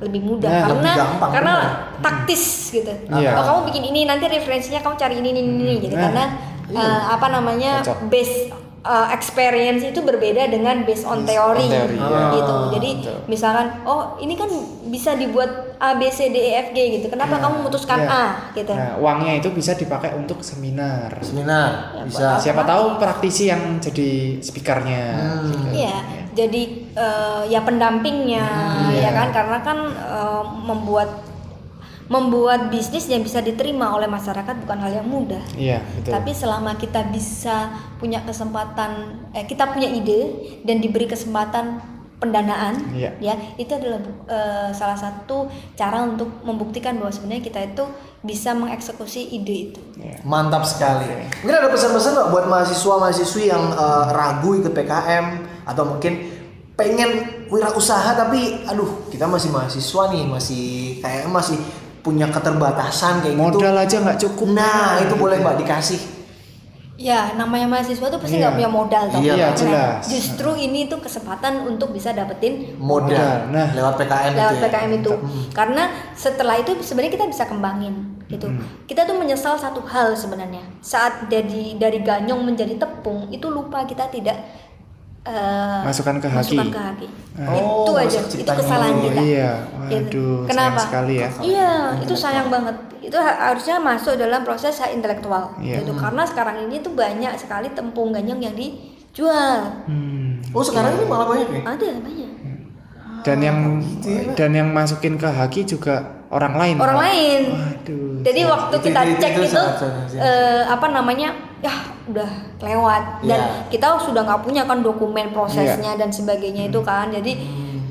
S1: lebih mudah
S3: Nah,
S1: karena
S2: lebih gampang,
S1: karena
S2: benar.
S1: taktis gitu.
S3: Iya.
S1: Oh, kamu bikin ini nanti referensinya kamu cari ini ini ini, ini gitu
S3: Nah,
S1: karena eh, apa namanya
S3: Cocok.
S1: base eh, experience itu berbeda dengan based on teori,
S3: teori,
S2: ya.
S3: iya.
S1: gitu.
S2: Ah,
S1: Jadi
S3: betul.
S1: misalkan oh ini kan bisa dibuat A B C D E F G gitu. Kenapa kamu memutuskan
S3: Iya.
S1: A gitu?
S3: Nah, uangnya itu bisa dipakai untuk seminar.
S2: seminar
S3: Iya,
S1: Ya,
S2: bisa
S1: buat
S3: Siapa tahu praktisi yang jadi speakernya.
S2: Hmm.
S3: gitu.
S1: Iya, jadi eh, ya pendampingnya
S3: Iya.
S1: ya kan karena kan eh, membuat membuat bisnis yang bisa diterima oleh masyarakat bukan hal yang mudah.
S3: Iya, betul.
S1: Tapi selama kita bisa punya kesempatan eh, kita punya ide dan diberi kesempatan pendanaan
S3: Iya.
S1: ya, itu adalah bu- eh, salah satu cara untuk membuktikan bahwa sebenarnya kita itu bisa mengeksekusi ide itu.
S2: mantap sekali mungkin ada pesan-pesan nggak buat mahasiswa-mahasiswi yang uh, ragu ikut PKM atau mungkin pengen wirausaha tapi aduh kita masih mahasiswa nih masih kayak masih punya keterbatasan kayak gitu
S3: Modal aja nggak cukup.
S2: Nah, itu boleh Mbak dikasih.
S1: Ya, namanya mahasiswa tuh pasti
S3: Iya.
S1: nggak punya modal toh.
S2: Iya,
S1: Nah,
S3: jelas.
S1: Justru ini tuh kesempatan untuk bisa dapetin
S2: Modal.
S3: Modal, nah.
S2: lewat PKM
S1: lewat
S2: gitu ya.
S1: PKM itu. Karena setelah itu sebenarnya kita bisa kembangin gitu.
S3: Hmm.
S1: Kita tuh menyesal satu hal sebenarnya. Saat dari dari ganyong menjadi tepung itu lupa kita tidak eh,
S3: Masukkan ke
S1: masukkan
S3: haki.
S1: ke haki.
S2: Ah.
S1: itu
S2: Oh,
S1: aja,
S2: masuk
S1: itu
S2: ciptaan
S1: kesalahan
S2: dulu,
S1: kita.
S3: Iya,
S1: Gitu.
S3: waduh,
S1: Kenapa?
S3: sayang sekali ya.
S1: Iya, itu sayang banget. Itu ha- harusnya masuk dalam proses hak intelektual.
S3: Iya.
S1: Gitu. Karena sekarang ini tuh banyak sekali tepung ganyong yang dijual.
S3: Hmm.
S2: Oh, sekarang ini malah banyak ya?
S1: Ada banyak.
S3: dan yang
S2: gitu ya, Pak.
S3: dan yang masukin ke haki juga orang lain
S1: orang
S3: Pak.
S1: lain
S3: waduh
S1: jadi waktu
S2: Hmm, Itu-
S1: kita
S2: itu- itu
S1: cek itu,
S2: sangat- sangat- sangat.
S1: eh, apa namanya ya udah lewat dan
S2: Iya.
S1: kita sudah nggak punya kan dokumen prosesnya dan sebagainya
S2: Hmm.
S1: itu kan jadi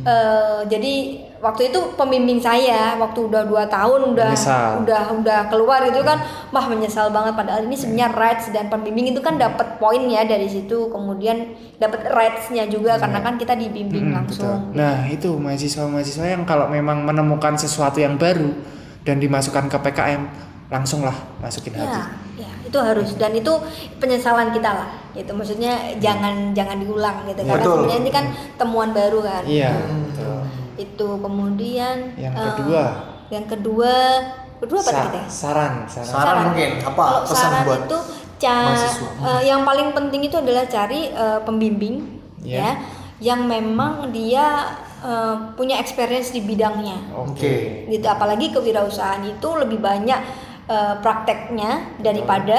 S1: eh, jadi waktu itu pembimbing saya waktu udah dua tahun udah
S3: Menyesal.
S1: udah udah keluar itu kan wah menyesal banget padahal ini
S2: Ya.
S1: sebenarnya rights dan pembimbing itu kan dapat poin ya dari situ kemudian dapat rights-nya juga karena
S2: Iya.
S1: kan kita dibimbing
S2: Hmm,
S3: Mm,
S1: langsung
S3: betul. Nah itu mahasiswa-mahasiswa yang kalau memang menemukan sesuatu yang baru dan dimasukkan ke PKM langsunglah masukin hati.
S1: Ya, ya, itu harus dan itu penyesalan kita lah. Gitu maksudnya jangan jangan diulang gitu karena
S2: Betul.
S1: sebenarnya ini kan temuan baru kan.
S3: Iya.
S1: Itu kemudian
S3: Yang
S1: eh,
S3: kedua.
S1: yang kedua, kedua apa
S3: Sa-
S1: tadi ya?
S3: saran, saran.
S2: Saran mungkin apa
S1: Kalau
S2: pesan
S1: saran
S2: buat
S1: itu ca-
S2: mahasiswa?
S1: eh, yang paling penting itu adalah cari eh, pembimbing
S3: Iya.
S1: ya yang memang dia eh, punya experience di bidangnya
S2: Oke.
S1: gitu apalagi kewirausahaan itu lebih banyak eh, prakteknya daripada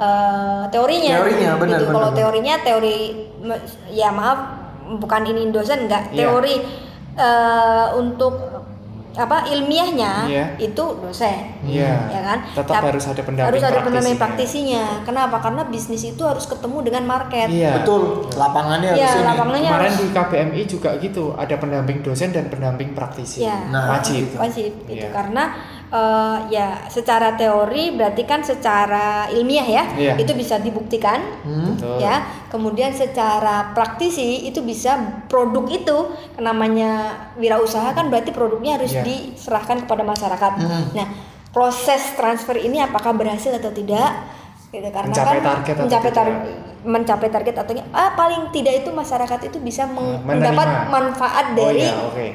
S1: eh, teorinya
S2: Teorinya, benar,
S1: gitu
S2: benar,
S1: kalau
S2: benar.
S1: teorinya teori me- ya maaf bukan ini dosen enggak
S3: Iya.
S1: teori eh, untuk apa ilmiahnya
S3: Iya.
S1: itu dosen
S3: Iya.
S1: ya kan
S3: Tetap
S1: Tapi
S3: harus ada pendamping
S1: harus ada pendamping
S3: praktisinya.
S1: praktisinya kenapa karena bisnis itu harus ketemu dengan market
S3: Iya.
S2: Betul, lapangannya
S1: ya
S2: harus ini.
S1: lapangannya
S3: Kemarin
S1: harus
S3: di KBMI juga gitu, ada pendamping dosen dan pendamping praktisi.
S1: Iya.
S2: Nah,
S3: Wajib.
S1: wajib gitu
S3: Iya.
S1: karena eh, ya secara teori berarti kan secara ilmiah ya
S3: Iya.
S1: itu bisa dibuktikan
S2: Hmm?
S3: Betul. Oh,
S1: ya kemudian secara praktisi itu bisa produk itu namanya wirausaha kan berarti produknya harus
S3: Iya.
S1: diserahkan kepada masyarakat
S2: Hmm.
S1: nah proses transfer ini apakah berhasil atau tidak gitu karena
S3: Mencapai
S1: kan
S3: target atau
S1: mencapai
S3: tidak.
S1: tar- mencapai target atau ah, paling tidak itu masyarakat itu bisa meng-
S3: Nah, Menerima.
S1: mendapat manfaat
S3: Oh
S1: dari
S3: iya, oke.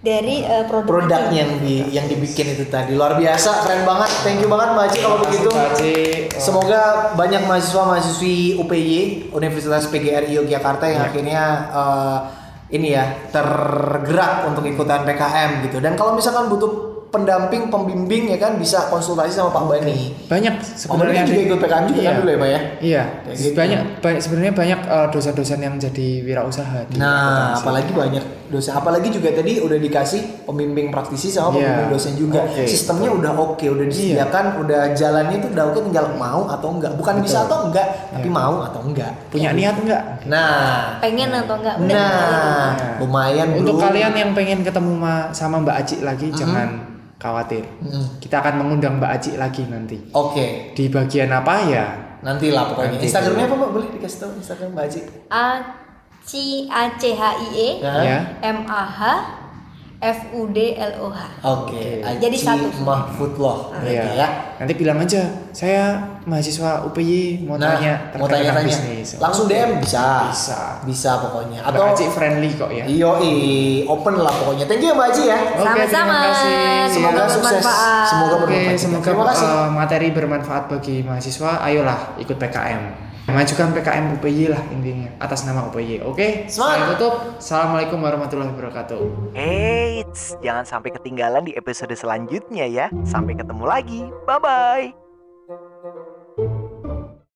S1: dari eh, produk
S2: produk
S1: itu.
S2: yang di yang dibikin itu tadi luar biasa keren banget thank you banget Mbak Aci kalau begitu
S3: Terima kasih, Pak Haji.
S2: semoga banyak mahasiswa mahasiswi UPY Universitas PGRI Yogyakarta
S3: Ya.
S2: yang akhirnya eh, ini ya tergerak untuk ikutan PKM gitu dan kalau misalkan butuh pendamping pembimbing ya kan bisa konsultasi sama Pak Bani
S3: banyak
S2: Pak Bani
S3: sebenarnya
S2: kan juga
S3: di-
S2: ikut PKM juga
S3: iya.
S2: kan dulu ya Pak ya
S3: Iya,
S2: Kayak gitu.
S3: banyak ba- sebenarnya banyak eh, dosen-dosen yang jadi wirausaha. di
S2: Nah,
S3: akuntansi.
S2: apalagi banyak dosen. Apalagi juga tadi udah dikasih pembimbing praktisi sama
S3: Iya.
S2: pembimbing dosen juga.
S3: Oke. Iya.
S2: Sistemnya udah oke, udah disediakan, udah jalannya itu udah oke tinggal mau atau enggak. Bukan bisa atau enggak, tapi mau atau enggak.
S3: Iya. punya niat nggak?
S2: Nah,
S1: pengen atau enggak udah
S2: nah, lumayan
S3: Untuk
S2: bro.
S3: kalian ya. yang pengen ketemu ma- sama Mbak Aci lagi,
S2: Hmm.
S3: jangan khawatir.
S2: Mm-mm.
S3: Kita akan mengundang Mbak Aci lagi nanti.
S2: Hmm. Oke,
S3: Di bagian apa ya?
S2: nantilah pokoknya.
S3: Nanti.
S2: Instagramnya apa Mbak? Boleh dikasih tahu Instagram Mbak Aji?
S1: A C A C H I E
S2: Ya.
S3: Ya.
S1: M A H F U D L O H
S2: Oke,
S1: Oke. Jadi
S2: Aji
S1: satu.
S2: Mahfudloh
S3: Iya.
S2: berarti ya.
S3: Nanti bilang aja, saya mahasiswa UPY mau
S2: Nah,
S3: tanya
S2: mau
S3: terkait tentang
S2: tanya-tanya.
S3: bisnis.
S2: Langsung DM bisa.
S3: Bisa.
S2: Bisa pokoknya.
S3: Mbak Aci friendly kok
S2: Iya.
S3: ya.
S2: Yoi, open lah pokoknya. Thank you Mbak Aji ya.
S3: Oke, terima
S1: Sama-sama.
S3: kasih.
S2: Semoga
S1: Semoga
S2: sukses.
S1: bermanfaat.
S2: Semoga
S3: Oke,
S2: bermanfaat.
S3: semoga
S2: Terima kasih.
S3: eh, materi bermanfaat bagi mahasiswa. Ayolah ikut PKM. Majukan PKM UPY lah intinya atas nama UPY. Oke, saya
S2: Semangat.
S3: tutup. Assalamualaikum warahmatullahi wabarakatuh.
S4: Eits, jangan sampai ketinggalan di episode selanjutnya ya. Sampai ketemu lagi. Bye-bye.